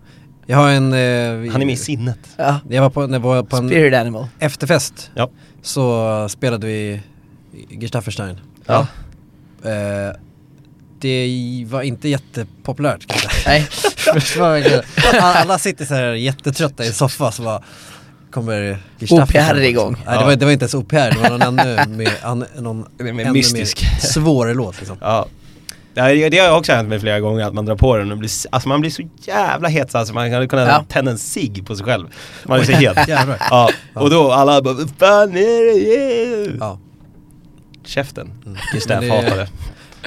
[SPEAKER 2] Jag har en... Eh,
[SPEAKER 1] Han är med i sinnet.
[SPEAKER 3] Ja.
[SPEAKER 2] Jag var på, när jag var på en
[SPEAKER 3] Spirit Animal.
[SPEAKER 2] efterfest
[SPEAKER 1] Ja.
[SPEAKER 2] så spelade vi Gestafferstein.
[SPEAKER 1] Ja.
[SPEAKER 2] Eh, det var inte jättepopulärt kanske.
[SPEAKER 3] Nej.
[SPEAKER 2] Förstår jag verkligen. Alla sitter så här jättetrötta i en soffa så bara kommer Gestapo
[SPEAKER 3] OPR igång.
[SPEAKER 2] Nej, det, var, det var inte ens OPR, det var någon ännu mer, an, någon
[SPEAKER 1] Det är mer
[SPEAKER 2] ännu
[SPEAKER 1] mystisk.
[SPEAKER 2] mer svår låt liksom.
[SPEAKER 1] Ja. Nej, Det har jag också hänt mig flera gånger, att man drar på den och blir, s- alltså man blir så jävla het så alltså man hade kunnat
[SPEAKER 3] Ja.
[SPEAKER 1] tända en cigg på sig själv. Man är så het.
[SPEAKER 2] Jävlar.
[SPEAKER 1] Ja. Och då alla bara "Vad fan är det? Yeah."
[SPEAKER 2] Ja.
[SPEAKER 1] Käften.
[SPEAKER 2] Mm.
[SPEAKER 1] Gustaf
[SPEAKER 2] Men det-
[SPEAKER 1] hatar det.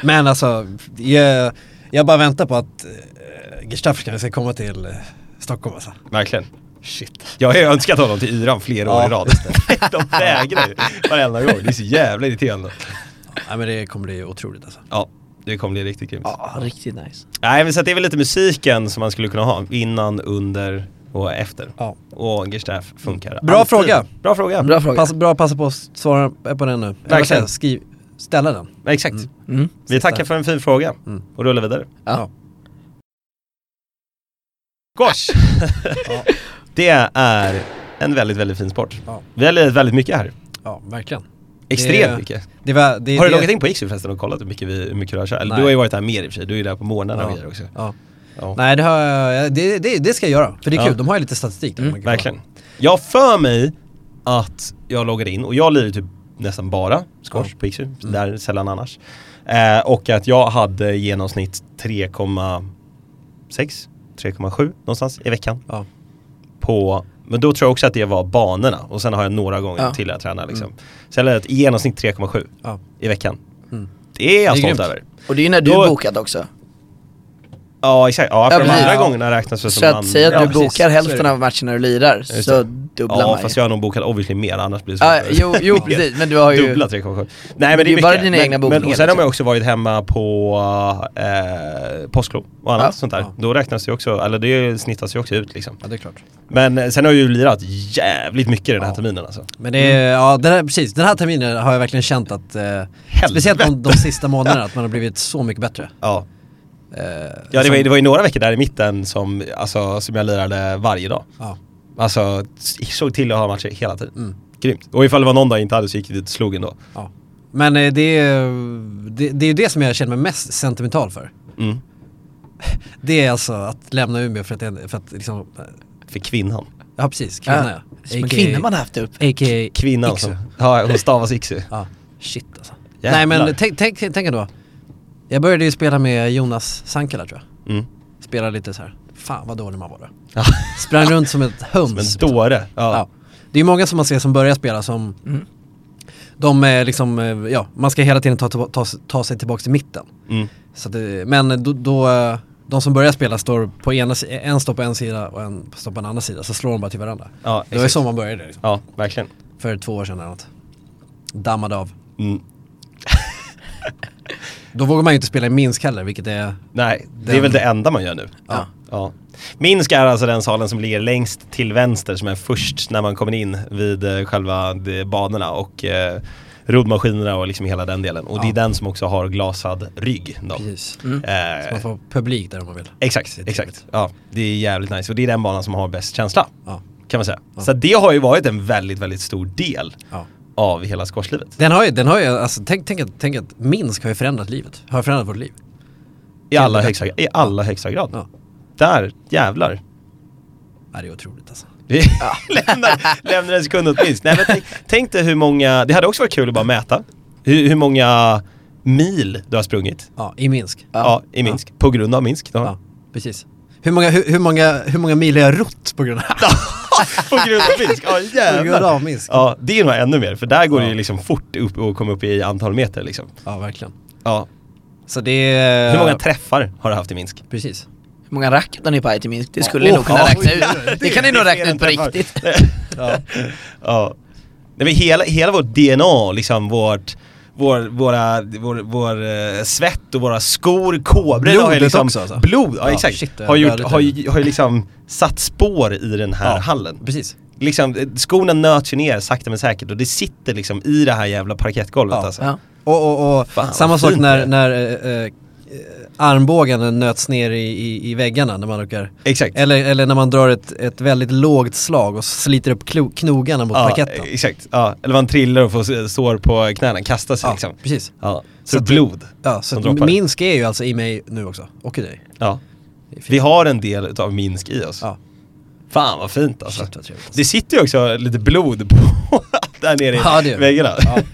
[SPEAKER 2] Men alltså, jag, jag bara väntar på att eh, Gestafelkarna ska komma till eh, Stockholm alltså.
[SPEAKER 1] Verkligen.
[SPEAKER 2] Shit.
[SPEAKER 1] Jag har ju önskat honom till yran flera år
[SPEAKER 2] Ja,
[SPEAKER 1] i rad. De vägrar ju varenda gång. Det är så jävla irriterande.
[SPEAKER 2] Nej men det kommer bli otroligt alltså.
[SPEAKER 1] Ja, det kommer bli riktigt grymt.
[SPEAKER 3] Ja, riktigt nice.
[SPEAKER 1] Nej men så att det är väl lite musiken som man skulle kunna ha innan, under och efter.
[SPEAKER 2] Ja.
[SPEAKER 1] Och Gestaff funkar
[SPEAKER 2] Bra fråga.
[SPEAKER 1] Bra fråga.
[SPEAKER 3] Bra fråga.
[SPEAKER 2] Pass, bra att passa på att svara på den nu. Eller vad säger jag? Skriv, ställa den.
[SPEAKER 1] Ja, Exakt.
[SPEAKER 2] Mm.
[SPEAKER 3] Mm.
[SPEAKER 1] Vi tackar för en fin fråga
[SPEAKER 2] Mm.
[SPEAKER 1] och rullar vidare.
[SPEAKER 3] Ja.
[SPEAKER 1] Squash!
[SPEAKER 2] Ja.
[SPEAKER 1] det är en väldigt, väldigt fin sport.
[SPEAKER 2] Ja.
[SPEAKER 1] Vi har lirat väldigt mycket här.
[SPEAKER 2] Ja, verkligen.
[SPEAKER 1] Extremt
[SPEAKER 2] Det-
[SPEAKER 1] mycket.
[SPEAKER 2] Det var, det,
[SPEAKER 1] Har du
[SPEAKER 2] det,
[SPEAKER 1] loggat in på Ixu förresten och kollat hur mycket, vi, hur mycket du har kört? Eller
[SPEAKER 2] Nej.
[SPEAKER 1] du har ju varit där mer i och för sig, du är ju där på morgnarna
[SPEAKER 2] Ja.
[SPEAKER 1] och grejer också.
[SPEAKER 2] Ja.
[SPEAKER 1] Ja.
[SPEAKER 2] Nej det, har, jag- det, det, det ska jag göra, för det är
[SPEAKER 1] Ja.
[SPEAKER 2] kul. De har ju lite statistik där.
[SPEAKER 3] Mm,
[SPEAKER 2] man kan kolla.
[SPEAKER 1] Verkligen. Jag har för mig att jag loggade in och jag lirar ju typ nästan bara squash på Ixu,
[SPEAKER 3] Mm.
[SPEAKER 1] där sällan annars. Eh, och att jag hade i genomsnitt 3,6, 3,7 någonstans i veckan.
[SPEAKER 2] Ja.
[SPEAKER 1] på, men då tror jag också att det var banorna och sen har jag några gånger
[SPEAKER 3] Ja. Mm.
[SPEAKER 1] till jag tränar liksom. Så jag lärde i genomsnitt 3,7
[SPEAKER 2] Ja.
[SPEAKER 1] i veckan.
[SPEAKER 2] Mm.
[SPEAKER 1] Det är jag
[SPEAKER 2] Det är
[SPEAKER 1] stolt
[SPEAKER 2] grymt.
[SPEAKER 1] över.
[SPEAKER 3] Och det är ju när du
[SPEAKER 1] Då-
[SPEAKER 3] är bokad också.
[SPEAKER 1] Ja exakt, ja för
[SPEAKER 3] Ja,
[SPEAKER 1] de
[SPEAKER 3] precis.
[SPEAKER 1] andra
[SPEAKER 3] Ja.
[SPEAKER 1] gångerna räknas det som
[SPEAKER 3] Så att säga
[SPEAKER 1] ja,
[SPEAKER 3] att du
[SPEAKER 1] precis.
[SPEAKER 3] bokar
[SPEAKER 1] Så är
[SPEAKER 3] hälften
[SPEAKER 1] det.
[SPEAKER 3] av matcherna du lirar,
[SPEAKER 1] det.
[SPEAKER 3] så dubblar
[SPEAKER 1] Ja
[SPEAKER 3] man
[SPEAKER 1] fast
[SPEAKER 3] ju.
[SPEAKER 1] jag har nog bokat obviously mer annars blir det
[SPEAKER 3] Ja,
[SPEAKER 1] svårt.
[SPEAKER 3] jo, jo precis, men du har ju...
[SPEAKER 1] Dubbla 3,7. Nej men det är
[SPEAKER 3] Det är
[SPEAKER 1] mycket.
[SPEAKER 3] bara dina
[SPEAKER 1] men,
[SPEAKER 3] egna
[SPEAKER 1] men,
[SPEAKER 3] bokningar,
[SPEAKER 1] och sen har man
[SPEAKER 3] liksom.
[SPEAKER 1] också varit hemma på eh, påsklov och annat
[SPEAKER 3] Ja.
[SPEAKER 1] sånt där.
[SPEAKER 2] Ja.
[SPEAKER 1] Då räknas det också, eller det snittas ju också ut liksom.
[SPEAKER 2] Ja det är klart.
[SPEAKER 1] Men eh, sen har jag ju lirat jävligt mycket den här
[SPEAKER 2] Ja.
[SPEAKER 1] terminen alltså.
[SPEAKER 2] Men det är, ja den här, precis, den här terminen har jag verkligen känt att, eh, speciellt de, de sista månaderna, att man har blivit så mycket bättre.
[SPEAKER 1] Ja.
[SPEAKER 2] Eh,
[SPEAKER 1] Ja det
[SPEAKER 2] som-
[SPEAKER 1] var, ju- det var ju några veckor där i mitten som, alltså, som jag lirade varje dag.
[SPEAKER 2] Ja,
[SPEAKER 1] Alltså s- såg till att ha matcher hela tiden.
[SPEAKER 2] mm,
[SPEAKER 1] Grymt. Och ifall det var någon dag jag inte hade så gick jag dit och slog ändå.
[SPEAKER 2] ja. Men eh, det, är- det, det är ju det som jag känner mig mest sentimental för.
[SPEAKER 1] Mm.
[SPEAKER 2] Det är alltså att lämna Umeå för att, det- för att liksom, eh,
[SPEAKER 1] För kvinnan.
[SPEAKER 2] ja precis, kvinna ja.
[SPEAKER 3] Som en kvinna man har haft upp.
[SPEAKER 2] A.k.a.
[SPEAKER 1] Kvinnan
[SPEAKER 2] Iksu.
[SPEAKER 1] som, ja hon stavas Iksu.
[SPEAKER 2] Ja, shit alltså.
[SPEAKER 1] Jävlar.
[SPEAKER 2] Nej men tänk, tänk, tänk ändå. Jag började ju spela med Jonas Sankala tror jag.
[SPEAKER 1] Mm.
[SPEAKER 2] Spela lite så här. fan vad dålig man var då.
[SPEAKER 1] Ja,
[SPEAKER 2] Sprang runt som ett höns.
[SPEAKER 1] som en dåre. Ja.
[SPEAKER 2] Ja. Det är många som man ser som börjar spela som, de är liksom, eh, ja, man ska hela tiden ta, ta, ta, ta sig tillbaka till mitten.
[SPEAKER 1] Mm.
[SPEAKER 2] Så att det, men då, då, eh, de som börjar spela står på ena, si- en står på en sida och en står på en annan sida, så slår de bara till varandra.
[SPEAKER 1] Ja,
[SPEAKER 2] det var ju
[SPEAKER 1] exakt.
[SPEAKER 2] så man började liksom,
[SPEAKER 1] ja verkligen.
[SPEAKER 2] för två år sedan eller något. Dammade av.
[SPEAKER 1] Mm.
[SPEAKER 2] Då vågar man ju inte spela i Minsk heller, vilket är...
[SPEAKER 1] Nej, det är
[SPEAKER 2] Den-
[SPEAKER 1] väl det enda man gör nu.
[SPEAKER 2] Ja.
[SPEAKER 1] Ja. Minsk är alltså den salen som ligger längst till vänster som är först när man kommer in vid eh, själva de- banorna och eh, roddmaskinerna och liksom hela den delen. Och det är
[SPEAKER 2] Ja.
[SPEAKER 1] den som också har glasad rygg. Då.
[SPEAKER 2] Precis. Så
[SPEAKER 1] Eh,
[SPEAKER 2] man får publik där om man vill.
[SPEAKER 1] exakt,
[SPEAKER 2] Det är
[SPEAKER 1] exakt.
[SPEAKER 2] trevligt.
[SPEAKER 1] Ja, det är jävligt nice och det är den banan som har bäst känsla
[SPEAKER 2] Ja.
[SPEAKER 1] kan man säga.
[SPEAKER 2] Ja.
[SPEAKER 1] Så det har ju varit en väldigt, väldigt stor del
[SPEAKER 2] Ja.
[SPEAKER 1] av hela squashlivet.
[SPEAKER 2] Den har ju, den har ju alltså, tänk, tänk, att, tänk att Minsk har ju förändrat livet. Har förändrat vårt liv.
[SPEAKER 1] I allra högsta, i allra högsta grad.
[SPEAKER 2] Ja.
[SPEAKER 1] Där, jävlar.
[SPEAKER 2] Ja, det är otroligt alltså.
[SPEAKER 1] Vi lämnar, lämnar en sekund åtminstone. Nej, men tänk, tänk dig hur många, det hade också varit kul att bara mäta. Hur, hur många mil du har sprungit
[SPEAKER 2] Ja, i Minsk.
[SPEAKER 1] ja.
[SPEAKER 3] Ja.
[SPEAKER 1] i Minsk, på grund av Minsk. Då.
[SPEAKER 2] Ja, precis. Hur många, hur, hur många, hur många mil har jag rott på grund av
[SPEAKER 1] på grund av Minsk, ja
[SPEAKER 2] På grund
[SPEAKER 1] jävlar.
[SPEAKER 2] av Minsk?
[SPEAKER 1] Ja, det är nog ännu mer, för där går det ju
[SPEAKER 2] Ja.
[SPEAKER 1] liksom fort upp och komma upp i antal meter liksom.
[SPEAKER 2] Ja, verkligen.
[SPEAKER 1] Ja.
[SPEAKER 2] Så det är...
[SPEAKER 1] Hur många träffar har du haft i Minsk?
[SPEAKER 2] Precis.
[SPEAKER 3] Hur många racket har ni på IT Minsk? Det skulle ni
[SPEAKER 1] Åh,
[SPEAKER 3] nog kunna
[SPEAKER 1] Oh, ja,
[SPEAKER 3] räkna
[SPEAKER 1] oj, oj, oj.
[SPEAKER 3] ut. Det kan ni
[SPEAKER 1] är
[SPEAKER 3] nog
[SPEAKER 1] fler
[SPEAKER 3] räkna
[SPEAKER 1] än
[SPEAKER 3] ut på
[SPEAKER 1] träffar.
[SPEAKER 3] riktigt.
[SPEAKER 2] Ja.
[SPEAKER 1] Ja. Nej, men hela, hela vårt DNA, liksom vårt, vår, våra, vår, vår eh, svett och våra skor, kobror har ju
[SPEAKER 2] Blodet
[SPEAKER 1] liksom,
[SPEAKER 2] också, alltså.
[SPEAKER 1] Blod, ja,
[SPEAKER 2] Ja,
[SPEAKER 1] exakt.
[SPEAKER 2] shit, jag
[SPEAKER 1] har, gjort,
[SPEAKER 2] blöder
[SPEAKER 1] har,
[SPEAKER 2] lite.
[SPEAKER 1] ju- har ju liksom satt spår i den här
[SPEAKER 2] Ja.
[SPEAKER 1] hallen.
[SPEAKER 2] Precis.
[SPEAKER 1] Liksom, eh, skorna nöts ju ner sakta men säkert och det sitter liksom i det här jävla parkettgolvet
[SPEAKER 2] Ja.
[SPEAKER 1] alltså.
[SPEAKER 3] Ja.
[SPEAKER 2] Och, och, och
[SPEAKER 1] Fan,
[SPEAKER 2] samma
[SPEAKER 1] vad
[SPEAKER 2] sak
[SPEAKER 1] fint det
[SPEAKER 2] när,
[SPEAKER 1] är.
[SPEAKER 2] när eh, eh, armbågen nöts ner i, i, i väggarna när man råkar...
[SPEAKER 1] Exakt.
[SPEAKER 2] Eller, eller när man drar ett, ett väldigt lågt slag och sliter upp klo, knogarna mot
[SPEAKER 1] ja, eh,
[SPEAKER 2] parketten.
[SPEAKER 1] exakt. Ja. Eller man trillar och får s- sår på knäna, kastar sig
[SPEAKER 2] Ja,
[SPEAKER 1] liksom.
[SPEAKER 2] precis.
[SPEAKER 1] Ja. Så,
[SPEAKER 2] Så att-
[SPEAKER 1] blod.
[SPEAKER 2] Ja, så
[SPEAKER 1] Som
[SPEAKER 2] att
[SPEAKER 1] droppar.
[SPEAKER 2] Minsk är ju alltså i mig nu också, och i dig.
[SPEAKER 1] Ja.
[SPEAKER 2] Det är fint.
[SPEAKER 1] Vi har en del av Minsk i oss.
[SPEAKER 2] Ja.
[SPEAKER 1] Fan vad fint alltså.
[SPEAKER 2] Shit vad trevligt.
[SPEAKER 1] Det sitter ju också lite blod på där nere i
[SPEAKER 2] Ja, det gör det.
[SPEAKER 1] väggarna.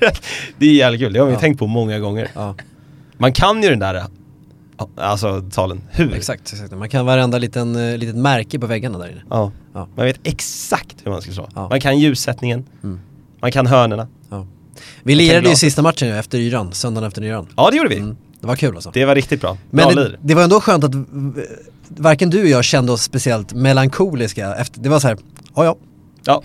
[SPEAKER 1] det är jävligt kul, det har vi
[SPEAKER 2] Ja.
[SPEAKER 1] tänkt på många gånger.
[SPEAKER 2] Ja,
[SPEAKER 1] Man kan ju den där, alltså talen, hur?
[SPEAKER 2] exakt, exakt. Man kan varenda liten, eh, litet märke på väggarna där inne.
[SPEAKER 1] Ja.
[SPEAKER 2] Ja.
[SPEAKER 1] Man vet exakt hur man ska slå.
[SPEAKER 2] Ja.
[SPEAKER 1] Man kan ljussättningen,
[SPEAKER 2] Mm.
[SPEAKER 1] man kan hörnorna.
[SPEAKER 2] Ja. Vi
[SPEAKER 1] kan
[SPEAKER 2] lirade ju
[SPEAKER 1] glasa.
[SPEAKER 2] sista matchen ju efter yran, söndagen efter yran.
[SPEAKER 1] Ja det gjorde vi.
[SPEAKER 2] Mm. Det var kul alltså.
[SPEAKER 1] Det var riktigt bra. bra
[SPEAKER 2] Men det,
[SPEAKER 1] lir.
[SPEAKER 2] det var ändå skönt att eh, varken du och jag kände oss speciellt melankoliska efter, det var så här, ja ja,
[SPEAKER 1] Ja,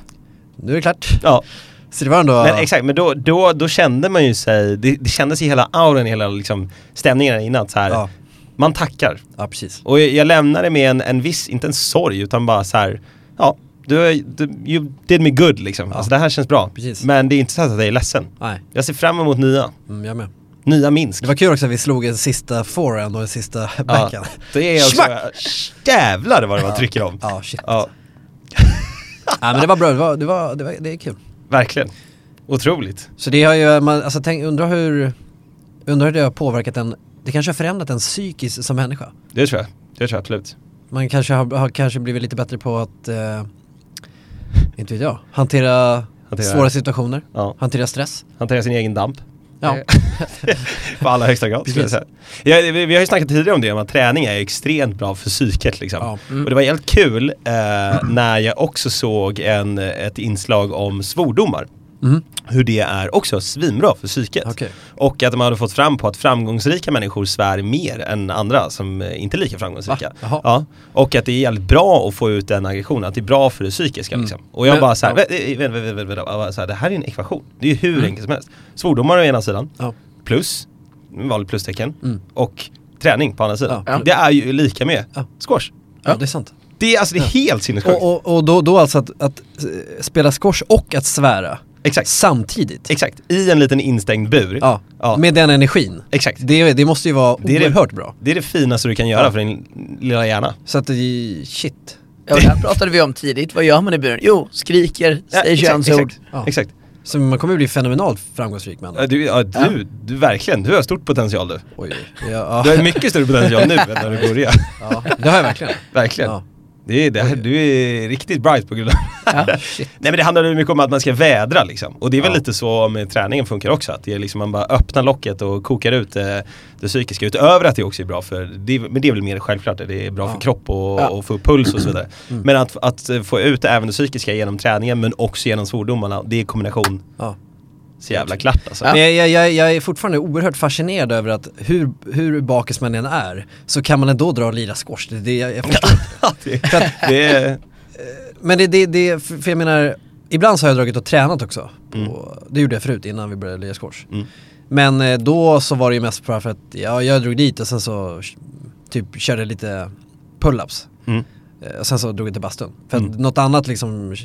[SPEAKER 2] nu är det klart.
[SPEAKER 1] ja.
[SPEAKER 2] Så det var ändå...
[SPEAKER 1] Men exakt, men då, då, då kände man ju sig, det, det kändes i hela auran, i hela liksom, stämningen där innan så här.
[SPEAKER 2] Ja,
[SPEAKER 1] man tackar.
[SPEAKER 2] ja precis.
[SPEAKER 1] Och jag, jag lämnade med en, en viss, inte en sorg, utan bara så här, ja, du, du you did me good liksom.
[SPEAKER 2] Ja.
[SPEAKER 1] Alltså det här känns bra.
[SPEAKER 2] Precis.
[SPEAKER 1] Men det är inte så att jag är ledsen.
[SPEAKER 2] Nej,
[SPEAKER 1] Jag ser fram emot nya,
[SPEAKER 2] mm, jag med.
[SPEAKER 1] nya Minsk.
[SPEAKER 2] Det var kul också att vi slog en sista forehand och en sista backhand.
[SPEAKER 1] det är också,
[SPEAKER 2] Schmack!
[SPEAKER 1] jävlar vad det man trycker om.
[SPEAKER 2] Ja, shit. Ja.
[SPEAKER 1] Ja,
[SPEAKER 2] men det var bra, det, var, det, var, det, var, det är kul.
[SPEAKER 1] verkligen. Otroligt.
[SPEAKER 2] Så det har ju, man, alltså tänk, undrar hur, undrar hur det har påverkat en, det kanske har förändrat en psykiskt som människa.
[SPEAKER 1] Det tror jag. Det tror jag absolut.
[SPEAKER 2] Man kanske har, har kanske blivit lite bättre på att, eh, inte vet jag, hantera,
[SPEAKER 1] Hantera-
[SPEAKER 2] svåra situationer,
[SPEAKER 1] Ja.
[SPEAKER 2] hantera stress.
[SPEAKER 1] Hantera sin egen damp. Eh,
[SPEAKER 2] Ja,
[SPEAKER 1] På allra högsta grad skulle jag säga. Ja, vi, vi har ju snackat tidigare om det, om att träning är extremt bra för psyket liksom.
[SPEAKER 2] Ja. Mm.
[SPEAKER 1] Och det var helt kul eh, när jag också såg en, ett inslag om svordomar.
[SPEAKER 2] Mhm.
[SPEAKER 1] Hur det är också svinbra för psyket.
[SPEAKER 2] Okej.
[SPEAKER 1] Och att de hade fått fram på att framgångsrika människor svär mer än andra som eh, inte är lika framgångsrika.
[SPEAKER 2] Va? Jaha.
[SPEAKER 1] Ja. Och att det är jävligt bra att få ut den aggressionen, att det är bra för det psykiska liksom. Och jag
[SPEAKER 2] Mm. Men-
[SPEAKER 1] bara såhär,
[SPEAKER 2] ja. Mm.
[SPEAKER 1] vä- vä- vä- vä- vä- vä- så här, det här är ju en ekvation. Det är ju hur enkelt som helst. Svordomar å ena sidan,
[SPEAKER 2] ja,
[SPEAKER 1] plus, en vanlig plustecken,
[SPEAKER 2] Mm.
[SPEAKER 1] och träning på andra sidan.
[SPEAKER 2] Ja.
[SPEAKER 1] Det är ju lika med
[SPEAKER 2] Ja.
[SPEAKER 1] squash.
[SPEAKER 2] ja, det är sant.
[SPEAKER 1] Det är, alltså, det är helt sinnessjukt.
[SPEAKER 2] Och, och, och då, då alltså att, att eh, spela squash och att svära
[SPEAKER 1] Exakt.
[SPEAKER 2] samtidigt.
[SPEAKER 1] Exakt, i en liten instängd bur.
[SPEAKER 2] Ja,
[SPEAKER 1] Ja.
[SPEAKER 2] med den energin.
[SPEAKER 1] Exakt.
[SPEAKER 2] Det, det måste ju vara
[SPEAKER 1] Det är det-
[SPEAKER 2] oerhört bra.
[SPEAKER 1] Det är det finaste du kan göra
[SPEAKER 2] Ja.
[SPEAKER 1] för din lilla hjärna.
[SPEAKER 2] Så att det, shit.
[SPEAKER 3] Ja, det här pratade vi om tidigt, vad gör man i buren? Jo, skriker,
[SPEAKER 1] Ja,
[SPEAKER 3] säger könsord.
[SPEAKER 1] Exakt.
[SPEAKER 2] Ja.
[SPEAKER 1] exakt.
[SPEAKER 2] Så man kommer ju bli fenomenalt framgångsrik med andra
[SPEAKER 1] Ja, Du, ja, du, du, verkligen, du har stort potential du.
[SPEAKER 2] Oj, oj. ja,
[SPEAKER 1] Du
[SPEAKER 2] ja,
[SPEAKER 1] har mycket större potential nu än när du började.
[SPEAKER 2] ja, det har jag verkligen.
[SPEAKER 1] Verkligen.
[SPEAKER 2] Ja.
[SPEAKER 1] Det är, det här, du är riktigt bright på grund av
[SPEAKER 3] Ja.
[SPEAKER 1] Nej men det handlar ju mycket om att man ska vädra liksom. Och det är väl
[SPEAKER 2] Ja.
[SPEAKER 1] lite så med träningen funkar också. Att det är liksom man bara öppnar locket och kokar ut eh, det psykiska. Utöver att det också är bra för, det, är- men det är väl mer självklart, det är bra
[SPEAKER 2] Ja.
[SPEAKER 1] för kropp och,
[SPEAKER 3] Ja.
[SPEAKER 1] och få upp puls och så vidare. Men att, att eh, få ut även det psykiska genom träningen men också genom svordomarna, det är kombination
[SPEAKER 2] Ja.
[SPEAKER 1] så jävla klart alltså.
[SPEAKER 3] Ja.
[SPEAKER 2] Men jag, jag, jag, jag är fortfarande oerhört fascinerad över att hur, hur bakis man än är så kan man ändå dra och lira squash. Det, det, jag, jag förstår.
[SPEAKER 1] det, det är,
[SPEAKER 2] Men det, det, det, för för jag menar, ibland så har jag dragit och tränat också. Och det gjorde jag förut innan vi började lira squash.
[SPEAKER 1] Mm.
[SPEAKER 2] Men eh, då så var det ju mest bara för att ja, jag drog dit och sen så typ körde lite pull-ups.
[SPEAKER 1] mm.
[SPEAKER 2] Eh, Och sen så drog jag till bastun. För att
[SPEAKER 1] Mm.
[SPEAKER 2] något annat liksom,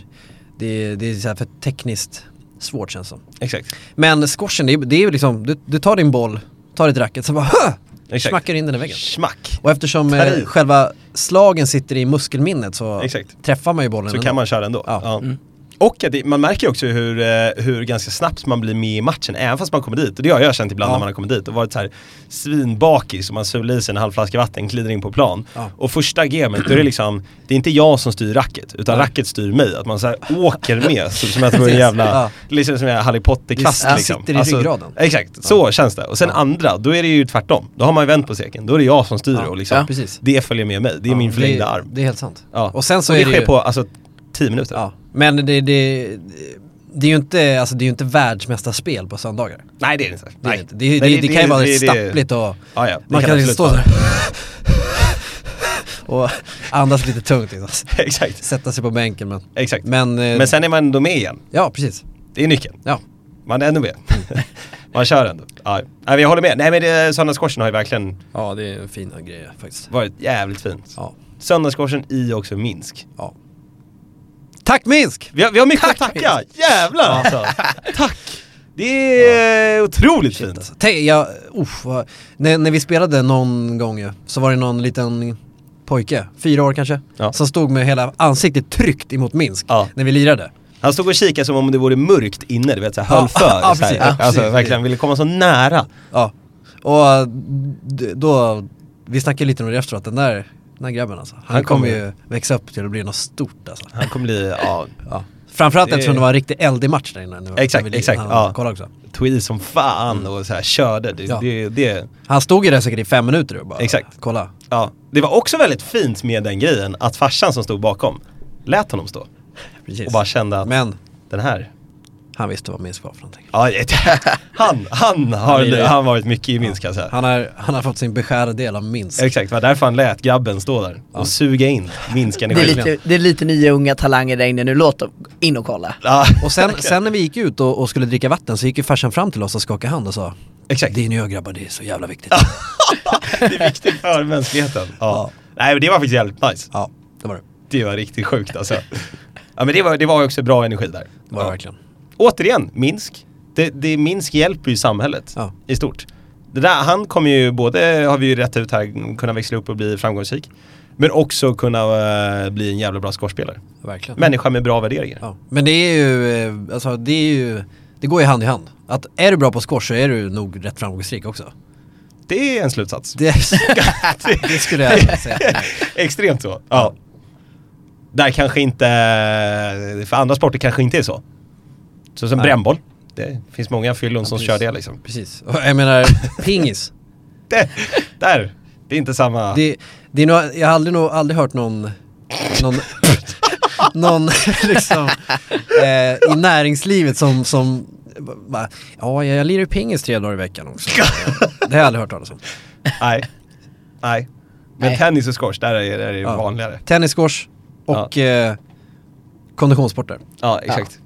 [SPEAKER 2] det, det är så här för tekniskt svårt känns det som.
[SPEAKER 1] Exakt.
[SPEAKER 2] Men squashen, det är, det är ju liksom, du, du tar din boll, tar ditt racket, sen bara Hö!
[SPEAKER 1] Exakt.
[SPEAKER 2] Smackar in den i väggen.
[SPEAKER 1] Smack!
[SPEAKER 2] Och eftersom
[SPEAKER 1] Tar i.
[SPEAKER 2] eh, själva slagen sitter i muskelminnet så
[SPEAKER 1] Exakt.
[SPEAKER 2] träffar man ju bollen
[SPEAKER 1] Så
[SPEAKER 2] ändå.
[SPEAKER 1] kan man köra ändå.
[SPEAKER 2] Ja. Mm.
[SPEAKER 1] Ja. Och att det, man märker ju också hur, eh, hur ganska snabbt man blir med i matchen, även fast man kommer dit. Och det har jag känt ibland
[SPEAKER 2] Ja.
[SPEAKER 1] när man har kommit dit och varit så här svinbakis och man sular i sig en halv flaska vatten, glider in på plan.
[SPEAKER 2] Ja.
[SPEAKER 1] Och första gamet, då är det liksom, det är inte jag som styr racket, utan
[SPEAKER 2] Nej.
[SPEAKER 1] racket styr mig. Att man så här åker med, så, som att det vore en jävla,
[SPEAKER 2] Ja.
[SPEAKER 1] liksom som en Harry Potter-kvast
[SPEAKER 2] Det
[SPEAKER 1] liksom.
[SPEAKER 2] sitter i ryggraden.
[SPEAKER 1] Exakt, så känns det. Och sen andra, då är det ju tvärtom. Då har man ju vänt på steken, då är det jag som styr
[SPEAKER 2] Ja.
[SPEAKER 1] och liksom,
[SPEAKER 3] Ja,
[SPEAKER 2] precis.
[SPEAKER 1] det följer med mig. Det är min
[SPEAKER 2] Ja,
[SPEAKER 1] förlängda
[SPEAKER 2] det,
[SPEAKER 1] arm.
[SPEAKER 2] Det är helt sant.
[SPEAKER 1] Ja.
[SPEAKER 2] Och sen så
[SPEAKER 1] och det,
[SPEAKER 2] är det
[SPEAKER 1] sker
[SPEAKER 2] ju,
[SPEAKER 1] på alltså 10 minuter.
[SPEAKER 2] ja. Men det, det, det är ju inte, alltså det är ju inte världsmästarspel på söndagar.
[SPEAKER 1] Nej det är det inte.
[SPEAKER 2] Det, är
[SPEAKER 1] Nej.
[SPEAKER 2] det, inte. det, det, det, det kan ju vara stappligt och
[SPEAKER 1] Ja, ja, det
[SPEAKER 2] man
[SPEAKER 1] kan
[SPEAKER 2] kan ju
[SPEAKER 1] absolut
[SPEAKER 2] stå
[SPEAKER 1] vara
[SPEAKER 2] där och andas lite tungt liksom.
[SPEAKER 1] exakt,
[SPEAKER 2] Sätta sig på bänken men,
[SPEAKER 1] exakt. Men,
[SPEAKER 2] men, eh,
[SPEAKER 1] sen är man ändå med igen.
[SPEAKER 2] ja precis.
[SPEAKER 1] Det är nyckeln.
[SPEAKER 2] Ja.
[SPEAKER 1] Man är ändå med.
[SPEAKER 2] Mm.
[SPEAKER 1] man kör ändå. Ja. Nej, men jag håller med. Nej men det- söndagskorsen har ju verkligen
[SPEAKER 2] ja, det är en fin grej faktiskt.
[SPEAKER 1] varit jävligt fint.
[SPEAKER 2] Ja,
[SPEAKER 1] Söndagskorsen i också Minsk.
[SPEAKER 2] ja. Tack Minsk!
[SPEAKER 1] Vi har, vi har mycket att tacka. Jävlar alltså. Tack. Det är eh, otroligt fint.
[SPEAKER 2] Alltså, tänk, jag, uff, vad, när, när vi spelade någon gång ju, så var det någon liten pojke, fyra år kanske,
[SPEAKER 1] Ja.
[SPEAKER 2] som stod med hela ansiktet tryckt emot Minsk
[SPEAKER 1] Ja.
[SPEAKER 2] när vi lirade.
[SPEAKER 1] Han stod och kikade som om det vore mörkt inne, du vet såhär, höll
[SPEAKER 2] Ja,
[SPEAKER 1] för.
[SPEAKER 2] ja,
[SPEAKER 1] så här.
[SPEAKER 2] precis, ja,
[SPEAKER 1] alltså
[SPEAKER 2] precis.
[SPEAKER 1] verkligen ville komma så nära.
[SPEAKER 2] Ja. Och d- då, vi snackade lite om det efteråt, den där, den här grabben alltså. Han,
[SPEAKER 1] Han
[SPEAKER 2] kommer
[SPEAKER 1] kommer-
[SPEAKER 2] ju växa upp till att bli något stort alltså.
[SPEAKER 1] Han kommer bli, ja,
[SPEAKER 2] Ja. Framförallt
[SPEAKER 1] Det-
[SPEAKER 2] eftersom det var en riktig eldig match där inne. nu.
[SPEAKER 1] Exakt,
[SPEAKER 2] Sevilla.
[SPEAKER 1] exakt,
[SPEAKER 2] Han,
[SPEAKER 1] ja.
[SPEAKER 2] kolla också.
[SPEAKER 1] tweed som fan och så här körde. Det,
[SPEAKER 2] Mm.
[SPEAKER 1] det,
[SPEAKER 2] Ja.
[SPEAKER 1] det,
[SPEAKER 2] han stod ju där säkert i fem minuter och bara
[SPEAKER 1] Exakt.
[SPEAKER 2] kolla.
[SPEAKER 1] ja. det var också väldigt fint med den grejen att farsan som stod bakom lät honom stå.
[SPEAKER 2] Precis.
[SPEAKER 1] Och bara kände att
[SPEAKER 2] Men
[SPEAKER 1] den här,
[SPEAKER 2] han visste vad Minsk var för någonting.
[SPEAKER 1] ja, han, han
[SPEAKER 2] är
[SPEAKER 1] har
[SPEAKER 2] det.
[SPEAKER 1] han varit mycket i Minsk kan jag säga.
[SPEAKER 2] Han har, han har fått sin beskärda del av Minsk.
[SPEAKER 1] Exakt, det var därför han lät grabben stå där
[SPEAKER 2] Ja.
[SPEAKER 1] och suga in Minsk-energi.
[SPEAKER 3] Det är, lite, det är lite nya unga talanger där inne nu, låt dem in och kolla.
[SPEAKER 1] Ja,
[SPEAKER 2] Och sen, sen när vi gick ut och, och skulle dricka vatten så gick ju farsan fram till oss och skakade hand och sa
[SPEAKER 1] exakt.
[SPEAKER 2] Det är nu jag grabbar, det är så jävla viktigt.
[SPEAKER 1] Det är viktigt för mänskligheten. Ja.
[SPEAKER 2] Ja.
[SPEAKER 1] Nej men det var faktiskt jävligt nice.
[SPEAKER 2] Ja, det var det.
[SPEAKER 1] Det var riktigt sjukt alltså. Ja men det var, det var också bra energi där.
[SPEAKER 2] Det var det
[SPEAKER 1] ja.
[SPEAKER 2] verkligen.
[SPEAKER 1] Återigen, Minsk. Det, det, Minsk hjälper ju samhället
[SPEAKER 2] Ja.
[SPEAKER 1] i stort. Det där, han kommer ju både, har vi ju rätt ut här, kunna växla upp och bli framgångsrik. Men också kunna eh, bli en jävla bra skådespelare.
[SPEAKER 2] Verkligen.
[SPEAKER 1] Människa med bra värderingar.
[SPEAKER 2] Ja. Men det är ju, eh, alltså det är ju, det går ju hand i hand. Att är du bra på squash så är du nog rätt framgångsrik också.
[SPEAKER 1] Det är en slutsats.
[SPEAKER 2] Det, det skulle jag säga.
[SPEAKER 1] Extremt så. Ja. Där kanske inte, för andra sporter kanske inte är så. Så som
[SPEAKER 2] Nej.
[SPEAKER 1] brännboll. Det finns många fyllon som
[SPEAKER 2] precis.
[SPEAKER 1] kör det liksom.
[SPEAKER 2] Precis. Och Jag menar, pingis.
[SPEAKER 1] Det, där, det är inte samma.
[SPEAKER 2] Det, det är nog, jag har aldrig, nog, aldrig hört någon, någon, någon liksom, eh, i näringslivet som, som bara, ja jag lirar ju pingis tre dagar i veckan också. Det har jag aldrig hört talas om.
[SPEAKER 1] Nej. Nej. Men
[SPEAKER 3] Nej.
[SPEAKER 1] tennis och squash, där är, där är det
[SPEAKER 2] Ja.
[SPEAKER 1] vanligare.
[SPEAKER 2] Tennis, squash och eh, konditionssporter.
[SPEAKER 1] Ja, exakt.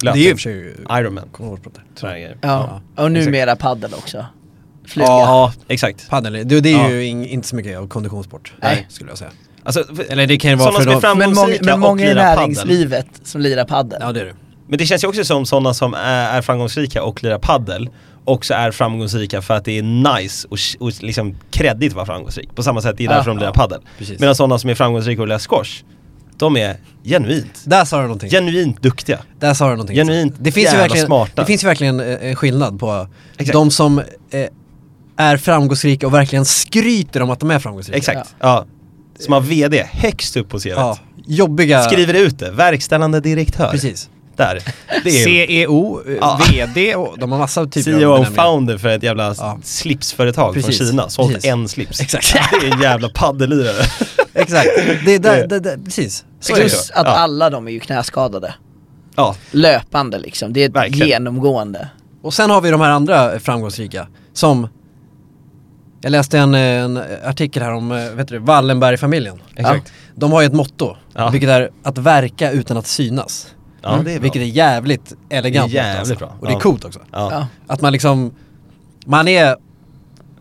[SPEAKER 2] Det är ju i och för sig Ah.
[SPEAKER 1] Ironman,
[SPEAKER 2] konditionssporter.
[SPEAKER 1] sådana grejer.
[SPEAKER 3] Ja. Och numera paddel också. Flyga.
[SPEAKER 1] Ja, exakt.
[SPEAKER 2] Padel, det, det är
[SPEAKER 1] Ja.
[SPEAKER 2] ju ing, inte så mycket av konditionssport,
[SPEAKER 3] Nej.
[SPEAKER 2] skulle jag säga.
[SPEAKER 1] Alltså, för-
[SPEAKER 2] Eller det kan ju vara
[SPEAKER 1] Sådana
[SPEAKER 2] för
[SPEAKER 1] som är
[SPEAKER 2] dem.
[SPEAKER 1] fram-
[SPEAKER 3] Men, många,
[SPEAKER 1] Musika
[SPEAKER 3] men
[SPEAKER 1] och
[SPEAKER 3] många i
[SPEAKER 1] lira paddel.
[SPEAKER 3] näringslivet som lirar paddel.
[SPEAKER 2] Ja det är det.
[SPEAKER 1] Men det känns ju också som sådana som är, är framgångsrika och lirar paddel också är framgångsrika för att det är nice och, och liksom kreddigt att vara framgångsrik. På samma sätt, det är
[SPEAKER 3] Ja,
[SPEAKER 1] därför de
[SPEAKER 2] ja,
[SPEAKER 1] lirar paddel.
[SPEAKER 2] precis.
[SPEAKER 1] Medan sådana som är framgångsrika och lirar squash, de är genuint,
[SPEAKER 2] Där sa du någonting.
[SPEAKER 1] genuint duktiga.
[SPEAKER 2] Där sa du någonting.
[SPEAKER 1] Genuint
[SPEAKER 2] det finns ju
[SPEAKER 1] jävla
[SPEAKER 2] verkligen,
[SPEAKER 1] smarta.
[SPEAKER 2] Det finns ju verkligen eh, en skillnad på
[SPEAKER 1] Exakt.
[SPEAKER 2] de som eh, är framgångsrika och verkligen skryter om att de är framgångsrika.
[SPEAKER 1] Exakt, ja. Som har VD högst upp på CVt.
[SPEAKER 2] Ja, jobbiga...
[SPEAKER 1] Skriver ut det, verkställande direktör.
[SPEAKER 2] Precis.
[SPEAKER 1] Där. Det är ju typ
[SPEAKER 2] CEO, eh,
[SPEAKER 1] Ja.
[SPEAKER 2] VD och de har massa typer av
[SPEAKER 1] CEO E och
[SPEAKER 2] benämningar.
[SPEAKER 1] founder för ett jävla
[SPEAKER 2] Ja.
[SPEAKER 1] slipsföretag
[SPEAKER 2] Precis.
[SPEAKER 1] från Kina. Sålt
[SPEAKER 2] Precis.
[SPEAKER 1] en slips.
[SPEAKER 2] Exakt.
[SPEAKER 1] Det är en jävla paddellirare.
[SPEAKER 2] Exakt. Det är där,
[SPEAKER 1] Det-
[SPEAKER 2] där, där, precis. Så är det.
[SPEAKER 3] Plus att
[SPEAKER 1] Ja.
[SPEAKER 3] alla de är ju knäskadade.
[SPEAKER 1] ja.
[SPEAKER 3] Löpande liksom, det är ett
[SPEAKER 1] Verkligen.
[SPEAKER 3] genomgående.
[SPEAKER 2] Och sen har vi de här andra framgångsrika som jag läste en, eh, en artikel här om, eh, vet du, Wallenbergfamiljen.
[SPEAKER 1] Exakt.
[SPEAKER 2] Ja. De har ju ett motto,
[SPEAKER 1] Ja.
[SPEAKER 2] vilket är att verka utan att synas.
[SPEAKER 1] Ja, det Mm. är bra.
[SPEAKER 2] Mm. Vilket är jävligt elegant.
[SPEAKER 1] Det är jävligt
[SPEAKER 2] alltså.
[SPEAKER 1] bra.
[SPEAKER 2] Och det är
[SPEAKER 1] Ja.
[SPEAKER 2] coolt också.
[SPEAKER 1] Ja.
[SPEAKER 3] Ja.
[SPEAKER 2] Att man liksom, man är,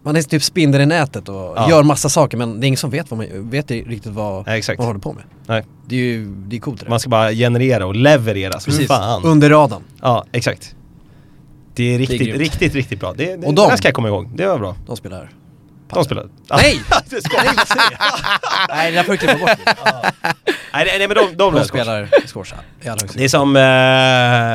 [SPEAKER 2] man är typ spindeln i nätet och
[SPEAKER 1] Ja.
[SPEAKER 2] gör massa saker men det är ingen som vet, vad man, vet riktigt vad
[SPEAKER 1] Nej, exakt.
[SPEAKER 2] man håller på med.
[SPEAKER 1] Nej.
[SPEAKER 2] Det är ju, det är coolt det där.
[SPEAKER 1] Man ska bara generera och leverera som
[SPEAKER 2] Precis,
[SPEAKER 1] fan.
[SPEAKER 2] under radarn.
[SPEAKER 1] ja, exakt. Det är riktigt,
[SPEAKER 2] grymt.
[SPEAKER 1] riktigt, riktigt bra. Det, det,
[SPEAKER 2] Och
[SPEAKER 1] och
[SPEAKER 2] de-
[SPEAKER 1] de, det här ska jag komma ihåg. Det var bra.
[SPEAKER 2] De spelar här.
[SPEAKER 1] De spelade. Ja.
[SPEAKER 2] Nej!
[SPEAKER 1] det ska jag inte säga.
[SPEAKER 2] Nej det där får du klippa bort.
[SPEAKER 1] nej, nej, nej, men de, de,
[SPEAKER 2] De
[SPEAKER 1] de
[SPEAKER 2] spelar squash i alla
[SPEAKER 1] Det är som eh,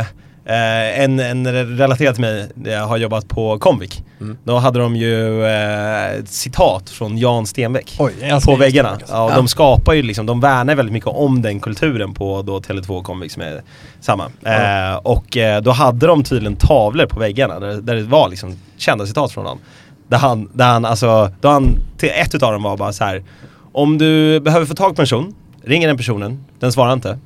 [SPEAKER 1] eh, en, en relaterad till mig, jag har jobbat på Comvik. Då hade de ju eh, ett citat från Jan Stenbeck.
[SPEAKER 2] Oj, jag älskar
[SPEAKER 1] på
[SPEAKER 2] Jan
[SPEAKER 1] väggarna.
[SPEAKER 2] Stenbeck alltså.
[SPEAKER 1] Ja, och
[SPEAKER 3] Ja.
[SPEAKER 1] de skapar ju liksom, de värnar väldigt mycket om den kulturen på då Tele2 och Comvik som är samma. Eh, och eh, då hade de tydligen tavlor på väggarna där, där det var liksom kända citat från honom. Där han, där han alltså, då han, till ett utav dem var bara så här. Om du behöver få tag på en person, ringer den personen, den svarar inte.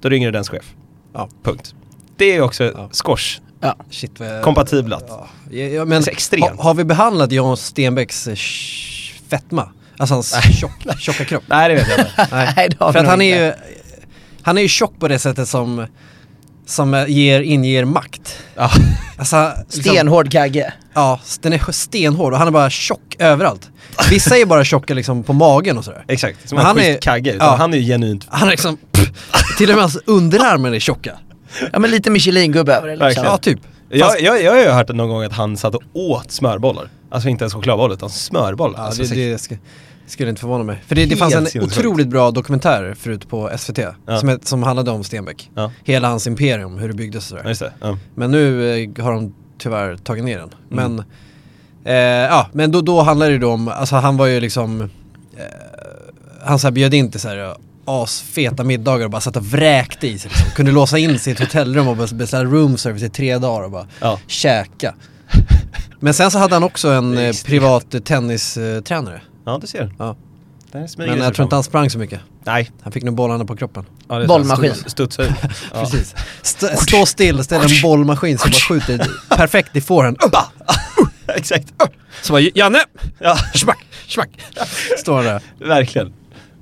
[SPEAKER 1] Då ringer du dens chef.
[SPEAKER 2] Ja.
[SPEAKER 1] Punkt. Det är ju också
[SPEAKER 2] Ja.
[SPEAKER 1] squash.
[SPEAKER 3] Ja.
[SPEAKER 2] Shit vad...
[SPEAKER 1] Kompatiblat.
[SPEAKER 2] Ja, Ja, ja, men
[SPEAKER 1] Alltså, extremt.
[SPEAKER 2] Har, har vi behandlat Jan Stenbecks eh, sh- fetma? Alltså hans tjock, tjocka kropp?
[SPEAKER 1] Nej det vet jag inte.
[SPEAKER 3] Nej, det
[SPEAKER 2] För
[SPEAKER 3] har vi
[SPEAKER 2] att
[SPEAKER 3] nog
[SPEAKER 2] han är
[SPEAKER 3] inte.
[SPEAKER 2] ju, han är ju tjock på det sättet som, som eh, ger, inger makt.
[SPEAKER 1] ja.
[SPEAKER 2] Alltså, liksom-
[SPEAKER 3] Stenhård kagge.
[SPEAKER 2] Ja, den är stenhård och han är bara tjock överallt. Vissa är bara tjocka liksom på magen och sådär.
[SPEAKER 1] Exakt, som
[SPEAKER 2] Men
[SPEAKER 1] en
[SPEAKER 2] han är-
[SPEAKER 1] schysst kagge. utan
[SPEAKER 2] ja.
[SPEAKER 1] Han är ju genuint
[SPEAKER 2] Han är liksom, pff, till och med hans underarmar är tjocka.
[SPEAKER 3] Ja men lite Michelin-gubbe över det liksom.
[SPEAKER 1] Verkligen.
[SPEAKER 2] Ja, typ.
[SPEAKER 1] Jag, jag, jag har ju hört någon gång att han satt och åt smörbollar. Alltså inte ens chokladbollar utan smörbollar.
[SPEAKER 2] Ja,
[SPEAKER 1] alltså,
[SPEAKER 2] det,
[SPEAKER 1] så-
[SPEAKER 2] det sk- skulle inte förvåna mig. För det, det fanns
[SPEAKER 1] Helt
[SPEAKER 2] en
[SPEAKER 1] sinnessjukt.
[SPEAKER 2] otroligt bra dokumentär förut på SVT som, het- som handlade om Stenbeck.
[SPEAKER 1] Ja.
[SPEAKER 2] Hela hans imperium, hur det byggdes och
[SPEAKER 1] ja,
[SPEAKER 2] sådär.
[SPEAKER 1] just det. Ja.
[SPEAKER 2] Men nu eh, har de tyvärr tagit ner den.
[SPEAKER 1] Mm.
[SPEAKER 2] Men, eh, ja, men då, då handlar det ju då om, alltså han var ju liksom eh, han så här bjöd in till så här eh, asfeta middagar och bara satt och vräkte i sig liksom. Kunde låsa in sig i ett hotellrum och bes- beställa room service i tre dagar och bara
[SPEAKER 1] Ja.
[SPEAKER 2] käka. Men sen så hade han också en eh, privat eh, tennistränare.
[SPEAKER 1] Ja, du ser.
[SPEAKER 2] Ja.
[SPEAKER 1] Det här smyger
[SPEAKER 2] Men
[SPEAKER 1] sig
[SPEAKER 2] jag tror inte
[SPEAKER 1] fram.
[SPEAKER 2] han sprang så mycket.
[SPEAKER 1] Nej.
[SPEAKER 2] Han fick nog bollarna på kroppen.
[SPEAKER 1] Ja, det är
[SPEAKER 3] Bollmaskin.
[SPEAKER 1] sant. Studsa ut. Ja.
[SPEAKER 2] Precis. St- stå still, ställ en bollmaskin som bara skjuter perfekt i forehand. Bah!
[SPEAKER 1] Exakt.
[SPEAKER 2] Så bara Janne!
[SPEAKER 1] Ja,
[SPEAKER 2] Smack, smack. Står han där.
[SPEAKER 1] verkligen.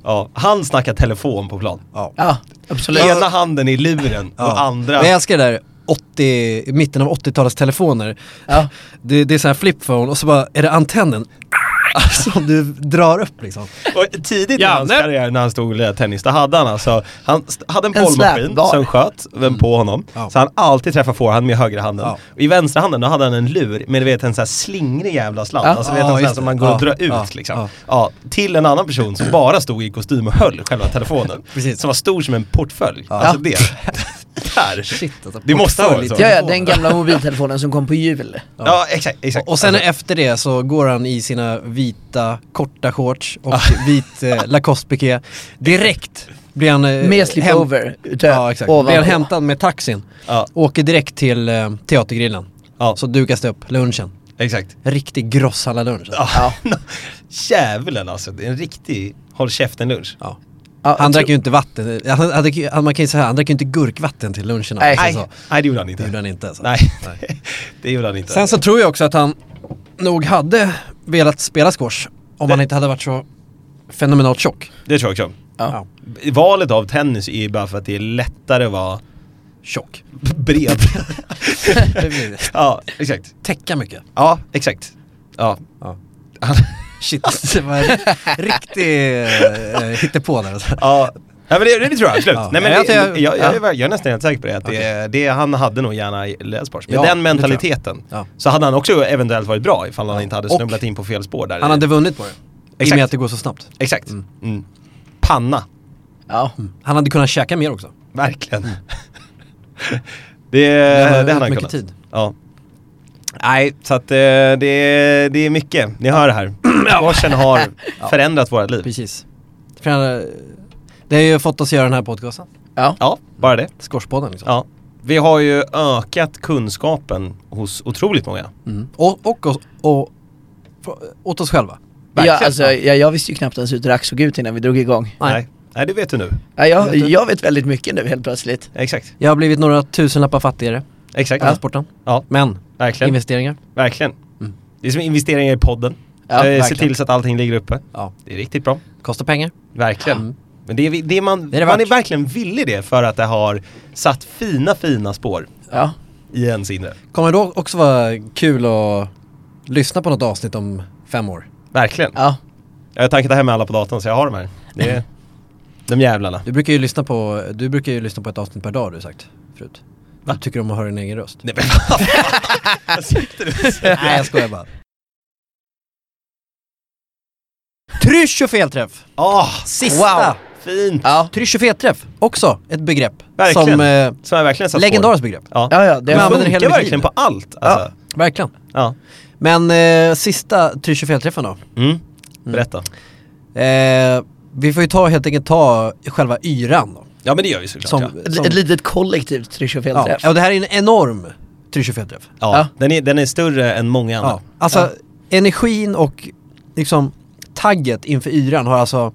[SPEAKER 1] Ja, han snackar telefon på plan.
[SPEAKER 2] Ja.
[SPEAKER 3] Ja, absolut.
[SPEAKER 1] Ena handen i luren
[SPEAKER 2] Ja.
[SPEAKER 1] och andra...
[SPEAKER 2] Men jag älskar det där 80, i mitten av 80-talets telefoner.
[SPEAKER 3] Ja.
[SPEAKER 2] Det, det är så här flipphone och så bara är det antennen Ah, som du drar upp liksom.
[SPEAKER 1] Och tidigt i
[SPEAKER 4] Janne.
[SPEAKER 1] hans karriär när han stod och lirade tennis, då hade han alltså, han st- hade en
[SPEAKER 3] En
[SPEAKER 1] bollmaskin
[SPEAKER 3] släpbar.
[SPEAKER 1] som sköt vem på honom.
[SPEAKER 2] Ja.
[SPEAKER 1] Så han alltid träffade forehand med högra handen.
[SPEAKER 2] Ja.
[SPEAKER 1] Och I vänstra handen då hade han en lur med du vet en sån här slingrig jävla slant.
[SPEAKER 3] Ja.
[SPEAKER 1] Alltså du vet
[SPEAKER 2] Ja,
[SPEAKER 1] en sån här
[SPEAKER 2] just
[SPEAKER 1] som
[SPEAKER 2] det.
[SPEAKER 1] man går och
[SPEAKER 2] Ja.
[SPEAKER 1] drar ut
[SPEAKER 2] Ja.
[SPEAKER 1] liksom. Ja.
[SPEAKER 2] Ja.
[SPEAKER 1] Till en annan person som bara stod i kostym och höll själva telefonen.
[SPEAKER 2] Precis.
[SPEAKER 1] Som var stor som en portfölj.
[SPEAKER 2] Ja.
[SPEAKER 1] Alltså det. Där.
[SPEAKER 2] Shit, alltså,
[SPEAKER 1] Det måste ha varit så.
[SPEAKER 2] portfölj.
[SPEAKER 3] ja, ja, den gamla mobiltelefonen som kom på jul.
[SPEAKER 1] Ja, exakt, exakt.
[SPEAKER 2] Och sen
[SPEAKER 1] Alltså,
[SPEAKER 2] efter det så går han i sina vita korta shorts och vit eh, Lacoste-piké. Direkt blir han... eh,
[SPEAKER 3] Med slipover utöver,
[SPEAKER 2] Ja exakt.
[SPEAKER 3] ovanpå.
[SPEAKER 2] Blir han hämtad med taxin.
[SPEAKER 1] ja,
[SPEAKER 2] Åker direkt till eh, teatergrillen.
[SPEAKER 1] ja,
[SPEAKER 2] Så dukas det upp lunchen.
[SPEAKER 1] exakt.
[SPEAKER 2] Riktig grosshandlarlunch. Ja.
[SPEAKER 1] Ja. Djävulen alltså, det är en riktig håll käften-lunch.
[SPEAKER 2] Ja.
[SPEAKER 3] Ja,
[SPEAKER 2] Han
[SPEAKER 3] jag
[SPEAKER 2] drack
[SPEAKER 3] tror-
[SPEAKER 2] ju inte vatten, han, han, drack ju- han, man kan ju säga han drack ju inte gurkvatten till lunchen. om
[SPEAKER 3] Nej.
[SPEAKER 2] man
[SPEAKER 1] Nej,
[SPEAKER 2] säger så.
[SPEAKER 1] nej det gjorde han inte.
[SPEAKER 2] Det gjorde han inte. Alltså.
[SPEAKER 1] Nej, det gjorde han inte.
[SPEAKER 2] Sen så tror jag också att han nog hade velat spela squash om han inte hade varit så fenomenalt tjock.
[SPEAKER 1] Det tror jag också.
[SPEAKER 3] Ja.
[SPEAKER 1] Valet av tennis är ju bara för att det är lättare att vara
[SPEAKER 2] Tjock.
[SPEAKER 1] b- bred. ja, exakt.
[SPEAKER 2] Täcka mycket.
[SPEAKER 1] Ja, exakt. Ja.
[SPEAKER 2] Ja.
[SPEAKER 1] Han-
[SPEAKER 2] Shit, det var en riktig eh, hittepå där. alltså.
[SPEAKER 1] ja. Nej men det, det tror jag, absolut.
[SPEAKER 2] Ja.
[SPEAKER 1] Nej, men
[SPEAKER 2] Jag
[SPEAKER 1] jag,
[SPEAKER 2] tror
[SPEAKER 1] jag, jag,
[SPEAKER 2] jag- ja.
[SPEAKER 1] är- jag är nästan helt säker på det. Att det, det han hade nog gärna läst sport. Med
[SPEAKER 2] Ja,
[SPEAKER 1] den
[SPEAKER 2] det tror jag.
[SPEAKER 1] mentaliteten
[SPEAKER 2] Ja.
[SPEAKER 1] så hade han också eventuellt varit bra ifall han inte hade
[SPEAKER 2] Och-
[SPEAKER 1] snubblat in på fel spår där.
[SPEAKER 2] Han hade vunnit på det. I och
[SPEAKER 1] Exakt.
[SPEAKER 2] med att det går så snabbt.
[SPEAKER 1] Exakt. Mm. Panna.
[SPEAKER 3] Ja.
[SPEAKER 2] Han hade kunnat käka mer också.
[SPEAKER 1] Verkligen. Mm. det,
[SPEAKER 2] har
[SPEAKER 1] det hade han
[SPEAKER 2] mycket
[SPEAKER 1] kunnat.
[SPEAKER 2] tid.
[SPEAKER 1] Ja. Nej, så att eh, det, är- det är mycket. Ni hör det här. Squashen har förändrat våra liv.
[SPEAKER 2] Precis. För han, eh, Det har ju fått oss att göra den här podcasten.
[SPEAKER 3] Ja.
[SPEAKER 1] Ja, bara det.
[SPEAKER 2] Squashpodden liksom.
[SPEAKER 1] Ja. Vi har ju ökat kunskapen hos otroligt många.
[SPEAKER 2] Mm. Och, och, oss- och, för- åt oss själva.
[SPEAKER 3] Ja,
[SPEAKER 1] Verkligen.
[SPEAKER 3] alltså, jag, jag visste ju knappt ens hur drack såg ut innan vi drog igång.
[SPEAKER 2] Nej.
[SPEAKER 1] Nej. Nej, det vet du nu.
[SPEAKER 3] Ja, jag,
[SPEAKER 2] Vet du?
[SPEAKER 3] jag vet väldigt mycket nu helt plötsligt.
[SPEAKER 1] Exakt.
[SPEAKER 2] Jag har blivit några tusenlappar fattigare i
[SPEAKER 1] Exakt.
[SPEAKER 2] den här
[SPEAKER 1] Ja,
[SPEAKER 2] sporten.
[SPEAKER 1] ja
[SPEAKER 2] Men,
[SPEAKER 1] verkligen.
[SPEAKER 2] investeringar.
[SPEAKER 1] verkligen.
[SPEAKER 2] Mm.
[SPEAKER 1] Det är som investeringar i podden.
[SPEAKER 3] Ja,
[SPEAKER 1] eh, se
[SPEAKER 2] verkligen.
[SPEAKER 1] till så att allting ligger uppe.
[SPEAKER 2] Ja.
[SPEAKER 1] Det är riktigt bra.
[SPEAKER 2] Kostar pengar.
[SPEAKER 1] Verkligen.
[SPEAKER 2] Mm.
[SPEAKER 1] Men det är, vi- det är man,
[SPEAKER 2] Det är det
[SPEAKER 1] man är
[SPEAKER 2] värt.
[SPEAKER 1] verkligen villig det för att det har satt fina, fina spår
[SPEAKER 3] Ja.
[SPEAKER 1] i ens inre.
[SPEAKER 2] Kommer det då också vara kul att lyssna på något avsnitt om fem år?
[SPEAKER 1] Verkligen.
[SPEAKER 3] Ja.
[SPEAKER 1] Jag har tankat hem alla på datorn så jag har dem här. Det är de jävlarna.
[SPEAKER 2] Du brukar ju lyssna på, du brukar ju lyssna på ett avsnitt per dag har du sagt förut.
[SPEAKER 1] Va?
[SPEAKER 2] Du tycker om att höra din egen röst.
[SPEAKER 1] Nej men vad fan sitter du och säger?
[SPEAKER 2] Nej jag skojar bara. Trysch och felträff!
[SPEAKER 1] Åh,
[SPEAKER 2] Sista!
[SPEAKER 1] Ah, Wow, fint!
[SPEAKER 3] Ja.
[SPEAKER 2] Trysch och felträff, också ett begrepp.
[SPEAKER 1] Verkligen.
[SPEAKER 2] Som, eh,
[SPEAKER 1] Som jag verkligen satt
[SPEAKER 2] legendariskt begrepp.
[SPEAKER 1] Ja.
[SPEAKER 3] Ja, ja, det
[SPEAKER 1] Det
[SPEAKER 2] Jag
[SPEAKER 1] funkar
[SPEAKER 2] använder det hela mitt
[SPEAKER 1] verkligen
[SPEAKER 2] liv.
[SPEAKER 1] på allt. Alltså.
[SPEAKER 2] Verkligen.
[SPEAKER 1] Ja.
[SPEAKER 2] Men eh, sista trysch och felträffen då.
[SPEAKER 1] Mm. Berätta.
[SPEAKER 2] Eh, vi får ju ta, helt enkelt ta själva yran då.
[SPEAKER 1] Ja men det gör vi såklart.
[SPEAKER 2] Som,
[SPEAKER 1] ja.
[SPEAKER 3] Ett-
[SPEAKER 2] som,
[SPEAKER 3] Ett litet kollektivt trysch och
[SPEAKER 2] ja.
[SPEAKER 3] felträff.
[SPEAKER 2] och det här är en enorm trysch och felträff.
[SPEAKER 1] Ja.
[SPEAKER 3] Ja.
[SPEAKER 1] Den, är, den är större än många andra.
[SPEAKER 2] Ja. Alltså energin och liksom tagget inför yran har alltså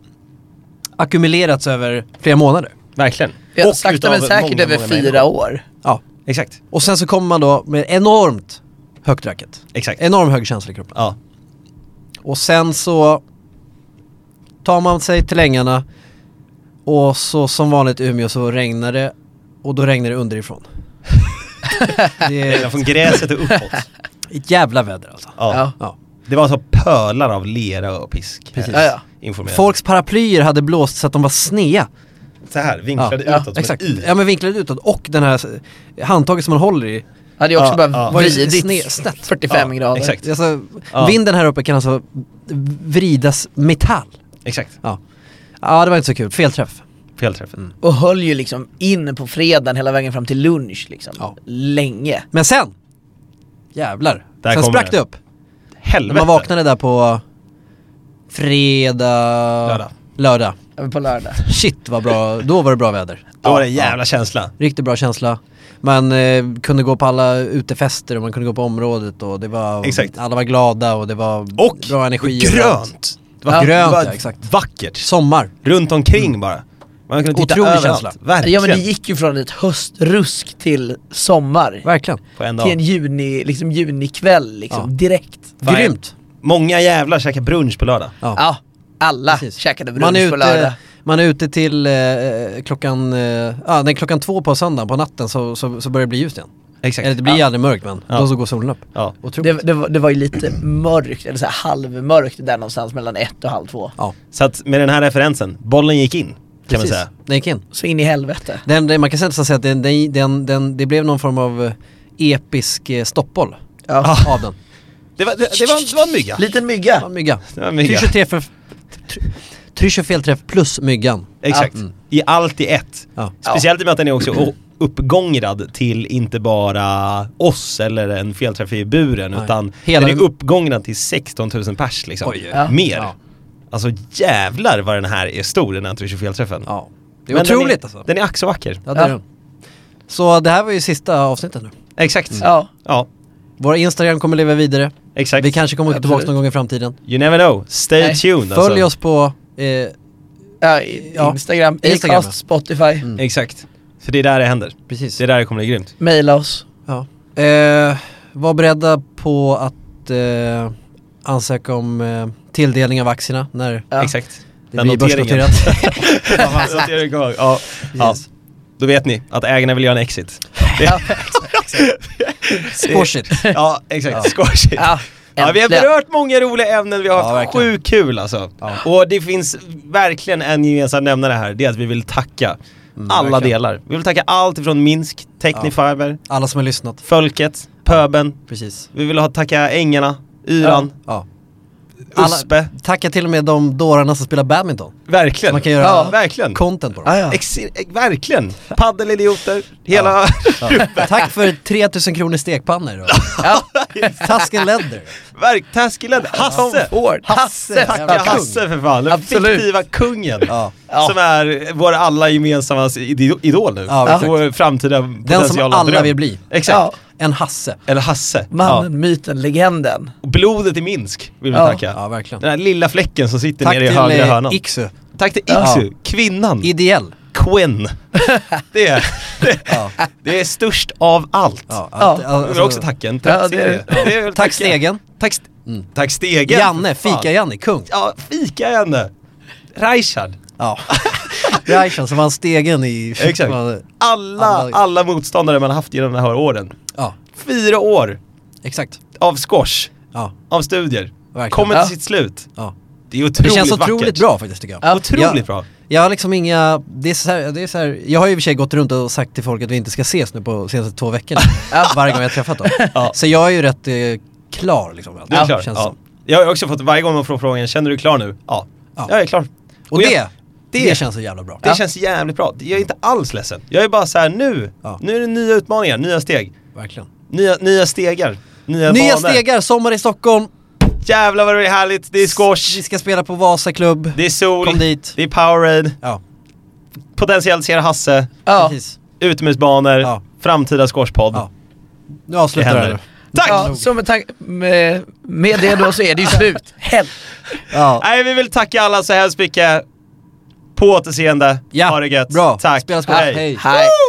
[SPEAKER 2] ackumulerats över flera månader.
[SPEAKER 1] Verkligen.
[SPEAKER 3] Ja.
[SPEAKER 1] Och
[SPEAKER 3] Sakta
[SPEAKER 1] utav
[SPEAKER 3] men säkert
[SPEAKER 1] många,
[SPEAKER 3] över
[SPEAKER 1] många
[SPEAKER 3] fyra
[SPEAKER 1] människor.
[SPEAKER 3] år.
[SPEAKER 2] Ja.
[SPEAKER 1] Exakt.
[SPEAKER 2] Och sen så kommer man då med enormt högt racket.
[SPEAKER 1] Exakt.
[SPEAKER 2] Enorm hög känsla i kroppen.
[SPEAKER 1] Ja.
[SPEAKER 2] Och sen så tar man sig till längarna och så som vanligt i Umeå så regnar det och då regnar det underifrån. det är
[SPEAKER 1] Redan Eh, från gräset och uppåt.
[SPEAKER 2] ett jävla väder alltså.
[SPEAKER 1] Ja.
[SPEAKER 3] Ja.
[SPEAKER 2] Ja.
[SPEAKER 1] Det var alltså pölar av lera och pisk.
[SPEAKER 2] Precis.
[SPEAKER 1] Eh,
[SPEAKER 3] Ja, ja.
[SPEAKER 1] Informerad.
[SPEAKER 2] Folks paraplyer hade blåst så att de var snea.
[SPEAKER 1] så här, vinklade
[SPEAKER 2] Ja,
[SPEAKER 1] utåt
[SPEAKER 2] Exakt,
[SPEAKER 1] som en
[SPEAKER 2] ja men vinklade utåt och den här eh, handtaget som man håller i.
[SPEAKER 3] Hade ju också
[SPEAKER 1] Ja, ja.
[SPEAKER 3] bara
[SPEAKER 2] Var det
[SPEAKER 3] vridit
[SPEAKER 2] sne- snett?
[SPEAKER 3] 45
[SPEAKER 1] Ja,
[SPEAKER 3] grader.
[SPEAKER 1] exakt.
[SPEAKER 2] Alltså,
[SPEAKER 1] Ja.
[SPEAKER 2] Vinden här uppe kan alltså vridas metall.
[SPEAKER 1] Exakt.
[SPEAKER 2] Ja. ja, det var inte så kul. Felträff.
[SPEAKER 1] Felträffen.
[SPEAKER 3] Och höll ju liksom in på fredagen hela vägen fram till lunch liksom.
[SPEAKER 2] Ja.
[SPEAKER 3] Länge.
[SPEAKER 2] Men sen, jävlar.
[SPEAKER 1] Där
[SPEAKER 2] sen
[SPEAKER 1] kommer
[SPEAKER 2] sprack
[SPEAKER 1] det.
[SPEAKER 2] det upp. När
[SPEAKER 1] Helvete.
[SPEAKER 2] man vaknade där på fredag,
[SPEAKER 1] Lördag.
[SPEAKER 2] lördag.
[SPEAKER 3] Ja, men på lördag.
[SPEAKER 2] Shit vad bra, då var det bra väder.
[SPEAKER 1] Då var det en jävla känsla.
[SPEAKER 2] Riktigt bra känsla. Man eh, kunde gå på alla utefester och man kunde gå på området och det var,
[SPEAKER 1] Exakt.
[SPEAKER 2] alla var glada och det var
[SPEAKER 1] Och
[SPEAKER 2] bra energi. överallt.
[SPEAKER 1] grönt!
[SPEAKER 2] Det var
[SPEAKER 3] Ja,
[SPEAKER 2] grönt,
[SPEAKER 1] Det var
[SPEAKER 2] ja, exakt.
[SPEAKER 1] Vackert.
[SPEAKER 2] Sommar.
[SPEAKER 1] Runt omkring bara. Man kunde titta
[SPEAKER 2] Otrolig
[SPEAKER 1] överallt.
[SPEAKER 2] känsla.
[SPEAKER 1] Verkligen.
[SPEAKER 3] Ja men det gick ju från ett höstrusk till sommar.
[SPEAKER 2] Verkligen.
[SPEAKER 1] På en
[SPEAKER 3] Till en
[SPEAKER 1] dag.
[SPEAKER 3] juni, liksom junikväll liksom,
[SPEAKER 2] Ja.
[SPEAKER 3] direkt.
[SPEAKER 1] Fan,
[SPEAKER 2] Grymt.
[SPEAKER 1] Många jävlar käkar brunch på lördag.
[SPEAKER 2] Ja.
[SPEAKER 3] Ja, alla
[SPEAKER 2] Precis.
[SPEAKER 3] käkade
[SPEAKER 2] man, är
[SPEAKER 3] brunch på lördag.
[SPEAKER 2] ute, man är ute till eh, klockan, eh, ah, nej, klockan två på söndagen på natten så, så, så börjar det bli ljust igen.
[SPEAKER 1] Exakt.
[SPEAKER 2] Eller det blir aldrig mörkt men
[SPEAKER 1] Ja.
[SPEAKER 2] då så går solen upp.
[SPEAKER 1] Ja.
[SPEAKER 3] Det,
[SPEAKER 2] Otroligt.
[SPEAKER 3] det, var, det var ju lite mörkt, eller så här halvmörkt där någonstans mellan ett och halv två.
[SPEAKER 2] Ja,
[SPEAKER 1] Så att med den här referensen, bollen gick in. Kan man
[SPEAKER 2] precis.
[SPEAKER 1] säga.
[SPEAKER 2] Den gick in.
[SPEAKER 3] Så in i helvete.
[SPEAKER 2] Den, den, man kan nästan säga att den, den, den, den, det blev någon form av eh, episk eh, stoppboll
[SPEAKER 3] Ja.
[SPEAKER 2] av den.
[SPEAKER 1] Det var, det, det var, det var en mygga.
[SPEAKER 3] Liten
[SPEAKER 2] Det var
[SPEAKER 3] mygga.
[SPEAKER 2] en mygga.
[SPEAKER 1] Det var en mygga.
[SPEAKER 2] Trysch och träff, tr- trysch och felträff plus myggan. Mm.
[SPEAKER 1] Exakt. I allt i ett.
[SPEAKER 2] Ja.
[SPEAKER 1] Speciellt i och med att den är också o- uppgångrad till inte bara oss eller en felträff i buren
[SPEAKER 2] Nej.
[SPEAKER 1] utan
[SPEAKER 2] Hela
[SPEAKER 1] den är
[SPEAKER 2] den-
[SPEAKER 1] uppgångrad till 16 000 pers liksom.
[SPEAKER 2] Oj.
[SPEAKER 3] Ja.
[SPEAKER 1] Mer.
[SPEAKER 2] Ja.
[SPEAKER 1] Alltså jävlar vad den här är stor den här 324-träffen.
[SPEAKER 2] ja. Det är otroligt
[SPEAKER 1] den är,
[SPEAKER 2] alltså.
[SPEAKER 1] Den är ack så vacker.
[SPEAKER 2] Ja, det är
[SPEAKER 3] Ja.
[SPEAKER 2] den. Så det här var ju sista avsnittet nu.
[SPEAKER 1] Exakt.
[SPEAKER 3] Ja.
[SPEAKER 1] Mm. Ja,
[SPEAKER 2] Våra Instagram kommer leva vidare.
[SPEAKER 1] exakt.
[SPEAKER 2] Vi kanske kommer tillbaka
[SPEAKER 3] Absolut.
[SPEAKER 2] någon gång i framtiden.
[SPEAKER 1] You never know. Stay
[SPEAKER 3] Nej.
[SPEAKER 1] tuned
[SPEAKER 2] Följ
[SPEAKER 1] alltså.
[SPEAKER 2] oss på... Eh,
[SPEAKER 3] Ja, i-
[SPEAKER 2] Ja.
[SPEAKER 3] Instagram,
[SPEAKER 2] Instagram, Mm.
[SPEAKER 3] Acast, Spotify,
[SPEAKER 1] Exakt. För det är där det händer.
[SPEAKER 2] precis.
[SPEAKER 1] Det är där det kommer bli grymt.
[SPEAKER 3] mejla oss.
[SPEAKER 2] Ja. Eh, var beredda på att eh, ansöka om eh, tilldelning av aktierna när
[SPEAKER 3] Ja.
[SPEAKER 1] Exakt.
[SPEAKER 2] det blir börsnoterat.
[SPEAKER 1] Noteringen kommer. ja. ja.
[SPEAKER 2] Yes.
[SPEAKER 1] Då vet ni att ägarna vill göra en exit.
[SPEAKER 3] Ja.
[SPEAKER 2] Squash it.
[SPEAKER 1] Ja, exakt. Squash it.
[SPEAKER 3] Ja,
[SPEAKER 1] Ja, vi har
[SPEAKER 3] äntligen.
[SPEAKER 1] berört många roliga ämnen, vi har
[SPEAKER 2] Ja,
[SPEAKER 1] haft
[SPEAKER 2] verkligen.
[SPEAKER 1] sjukt kul alltså.
[SPEAKER 2] Ja.
[SPEAKER 1] Och det finns verkligen en gemensam nämnare här, det är att vi vill tacka alla
[SPEAKER 2] Mm, verkligen.
[SPEAKER 1] delar. Vi vill tacka allt ifrån Minsk, Technifiber,
[SPEAKER 2] Alla som har lyssnat.
[SPEAKER 1] Folket, Pöben,
[SPEAKER 2] Precis.
[SPEAKER 1] vi vill ha tacka Ängarna, Yran,
[SPEAKER 2] Ja. Alla-
[SPEAKER 1] Uspe.
[SPEAKER 2] Tacka till och med de dårarna som spelar badminton.
[SPEAKER 1] Verkligen.
[SPEAKER 2] Man kan göra
[SPEAKER 1] ja, verkligen.
[SPEAKER 2] content på dem.
[SPEAKER 3] Ja, ja.
[SPEAKER 1] Ex- eh, verkligen. Paddelidioter, hela...
[SPEAKER 2] Ja. Tack för 3000 kronor stekpannor och
[SPEAKER 3] Ja.
[SPEAKER 2] task and leather.
[SPEAKER 1] Verk, Taskiled, Hasse!
[SPEAKER 3] Ford.
[SPEAKER 2] Hasse.
[SPEAKER 1] Tacka
[SPEAKER 2] Jävla kung.
[SPEAKER 1] Hasse för fan, den
[SPEAKER 3] Absolut.
[SPEAKER 1] fiktiva kungen.
[SPEAKER 2] Ja.
[SPEAKER 3] Ja.
[SPEAKER 1] Som är vår alla gemensamma ido- idol nu.
[SPEAKER 2] Ja, exakt.
[SPEAKER 1] Vår framtida
[SPEAKER 2] Den som
[SPEAKER 1] potentiala
[SPEAKER 2] alla
[SPEAKER 1] dröm.
[SPEAKER 2] vill bli.
[SPEAKER 1] Exakt.
[SPEAKER 3] Ja.
[SPEAKER 2] En Hasse.
[SPEAKER 1] Eller Hasse.
[SPEAKER 3] Mannen, myten, legenden.
[SPEAKER 1] Ja. Blodet i Minsk vill vi
[SPEAKER 3] Ja.
[SPEAKER 1] tacka.
[SPEAKER 2] Ja, verkligen.
[SPEAKER 1] Den här lilla fläcken som sitter
[SPEAKER 2] Tack
[SPEAKER 1] nere i
[SPEAKER 2] till
[SPEAKER 1] högra
[SPEAKER 2] eh,
[SPEAKER 1] hörnan.
[SPEAKER 2] Iksu.
[SPEAKER 1] Tack till
[SPEAKER 2] Ja.
[SPEAKER 1] Iksu, kvinnan,
[SPEAKER 2] Ideell.
[SPEAKER 1] Quinn. Det är, det,
[SPEAKER 2] Ja.
[SPEAKER 1] det är störst av allt.
[SPEAKER 2] Ja,
[SPEAKER 3] Ja.
[SPEAKER 2] att-
[SPEAKER 1] Jag vill
[SPEAKER 2] alltså-
[SPEAKER 1] också tacka en
[SPEAKER 3] Ja, det är-
[SPEAKER 1] trattserie. Det är väl
[SPEAKER 2] Tack
[SPEAKER 1] tacka.
[SPEAKER 2] Stegen.
[SPEAKER 1] Tack, st- tack Stegen.
[SPEAKER 2] Janne,
[SPEAKER 1] för fan.
[SPEAKER 2] Fika-Janne, kung.
[SPEAKER 1] Ja, fika Janne. Reichard.
[SPEAKER 2] Ja. Reichen som vann Stegen i...
[SPEAKER 1] Exakt. Alla,
[SPEAKER 2] Alla-
[SPEAKER 1] alla motståndare man har haft genom de här åren.
[SPEAKER 2] Ja,
[SPEAKER 1] Fyra år
[SPEAKER 2] exakt.
[SPEAKER 1] av squash,
[SPEAKER 2] Ja,
[SPEAKER 1] av studier.
[SPEAKER 2] Verkligen.
[SPEAKER 1] Kommer till
[SPEAKER 3] Ja.
[SPEAKER 1] sitt slut.
[SPEAKER 2] ja.
[SPEAKER 1] Det är otroligt
[SPEAKER 2] Det känns
[SPEAKER 1] vackert.
[SPEAKER 2] otroligt bra faktiskt tycker jag.
[SPEAKER 3] Ja.
[SPEAKER 1] Otroligt
[SPEAKER 2] Ja.
[SPEAKER 1] bra.
[SPEAKER 2] Jag har liksom inga, det är, så här, det är så här, jag har ju i och för sig gått runt och sagt till folk att vi inte ska ses nu på senaste två veckorna. Varje gång jag har träffat dem.
[SPEAKER 1] Ja.
[SPEAKER 2] Så jag är ju rätt eh, klar liksom.
[SPEAKER 1] Du är klar.
[SPEAKER 2] Känns
[SPEAKER 1] Ja.
[SPEAKER 2] som.
[SPEAKER 1] Jag har också fått varje gång man får frågan, känner du klar nu? Ja,
[SPEAKER 2] Ja.
[SPEAKER 1] jag är klar.
[SPEAKER 2] Och det,
[SPEAKER 1] jag,
[SPEAKER 2] det,
[SPEAKER 1] det,
[SPEAKER 2] känns så jävla bra.
[SPEAKER 1] det känns jävligt bra. Jag är inte alls ledsen. Jag är bara så här nu,
[SPEAKER 2] Ja.
[SPEAKER 1] nu är det nya utmaningar, nya steg.
[SPEAKER 2] Verkligen.
[SPEAKER 1] Nya, nya stegar, nya,
[SPEAKER 2] Nya
[SPEAKER 1] banor.
[SPEAKER 2] stegar, sommar i Stockholm.
[SPEAKER 1] Jävlar vad det är härligt, det är
[SPEAKER 2] Vi
[SPEAKER 1] squash,
[SPEAKER 2] ska spela på Vasa klubb.
[SPEAKER 1] det är sol,
[SPEAKER 2] Kom dit.
[SPEAKER 1] det är powerade,
[SPEAKER 2] Ja,
[SPEAKER 1] potentiellt ser Hasse,
[SPEAKER 3] Ja.
[SPEAKER 2] precis.
[SPEAKER 1] utomhusbanor,
[SPEAKER 2] Ja.
[SPEAKER 1] framtida squashpodd.
[SPEAKER 2] Ja. Nu avslutar
[SPEAKER 1] Det
[SPEAKER 2] jag
[SPEAKER 1] händer.
[SPEAKER 2] det.
[SPEAKER 1] Tack!
[SPEAKER 3] Ja, så med, tank- med, med det då så är det ju slut. Hell.
[SPEAKER 2] Ja.
[SPEAKER 1] Nej, vi vill tacka alla så hemskt mycket. På återseende.
[SPEAKER 2] Ja,
[SPEAKER 1] Ha det gött.
[SPEAKER 2] bra.
[SPEAKER 1] Tack.
[SPEAKER 2] Spela, spela. Hej.
[SPEAKER 3] Hej.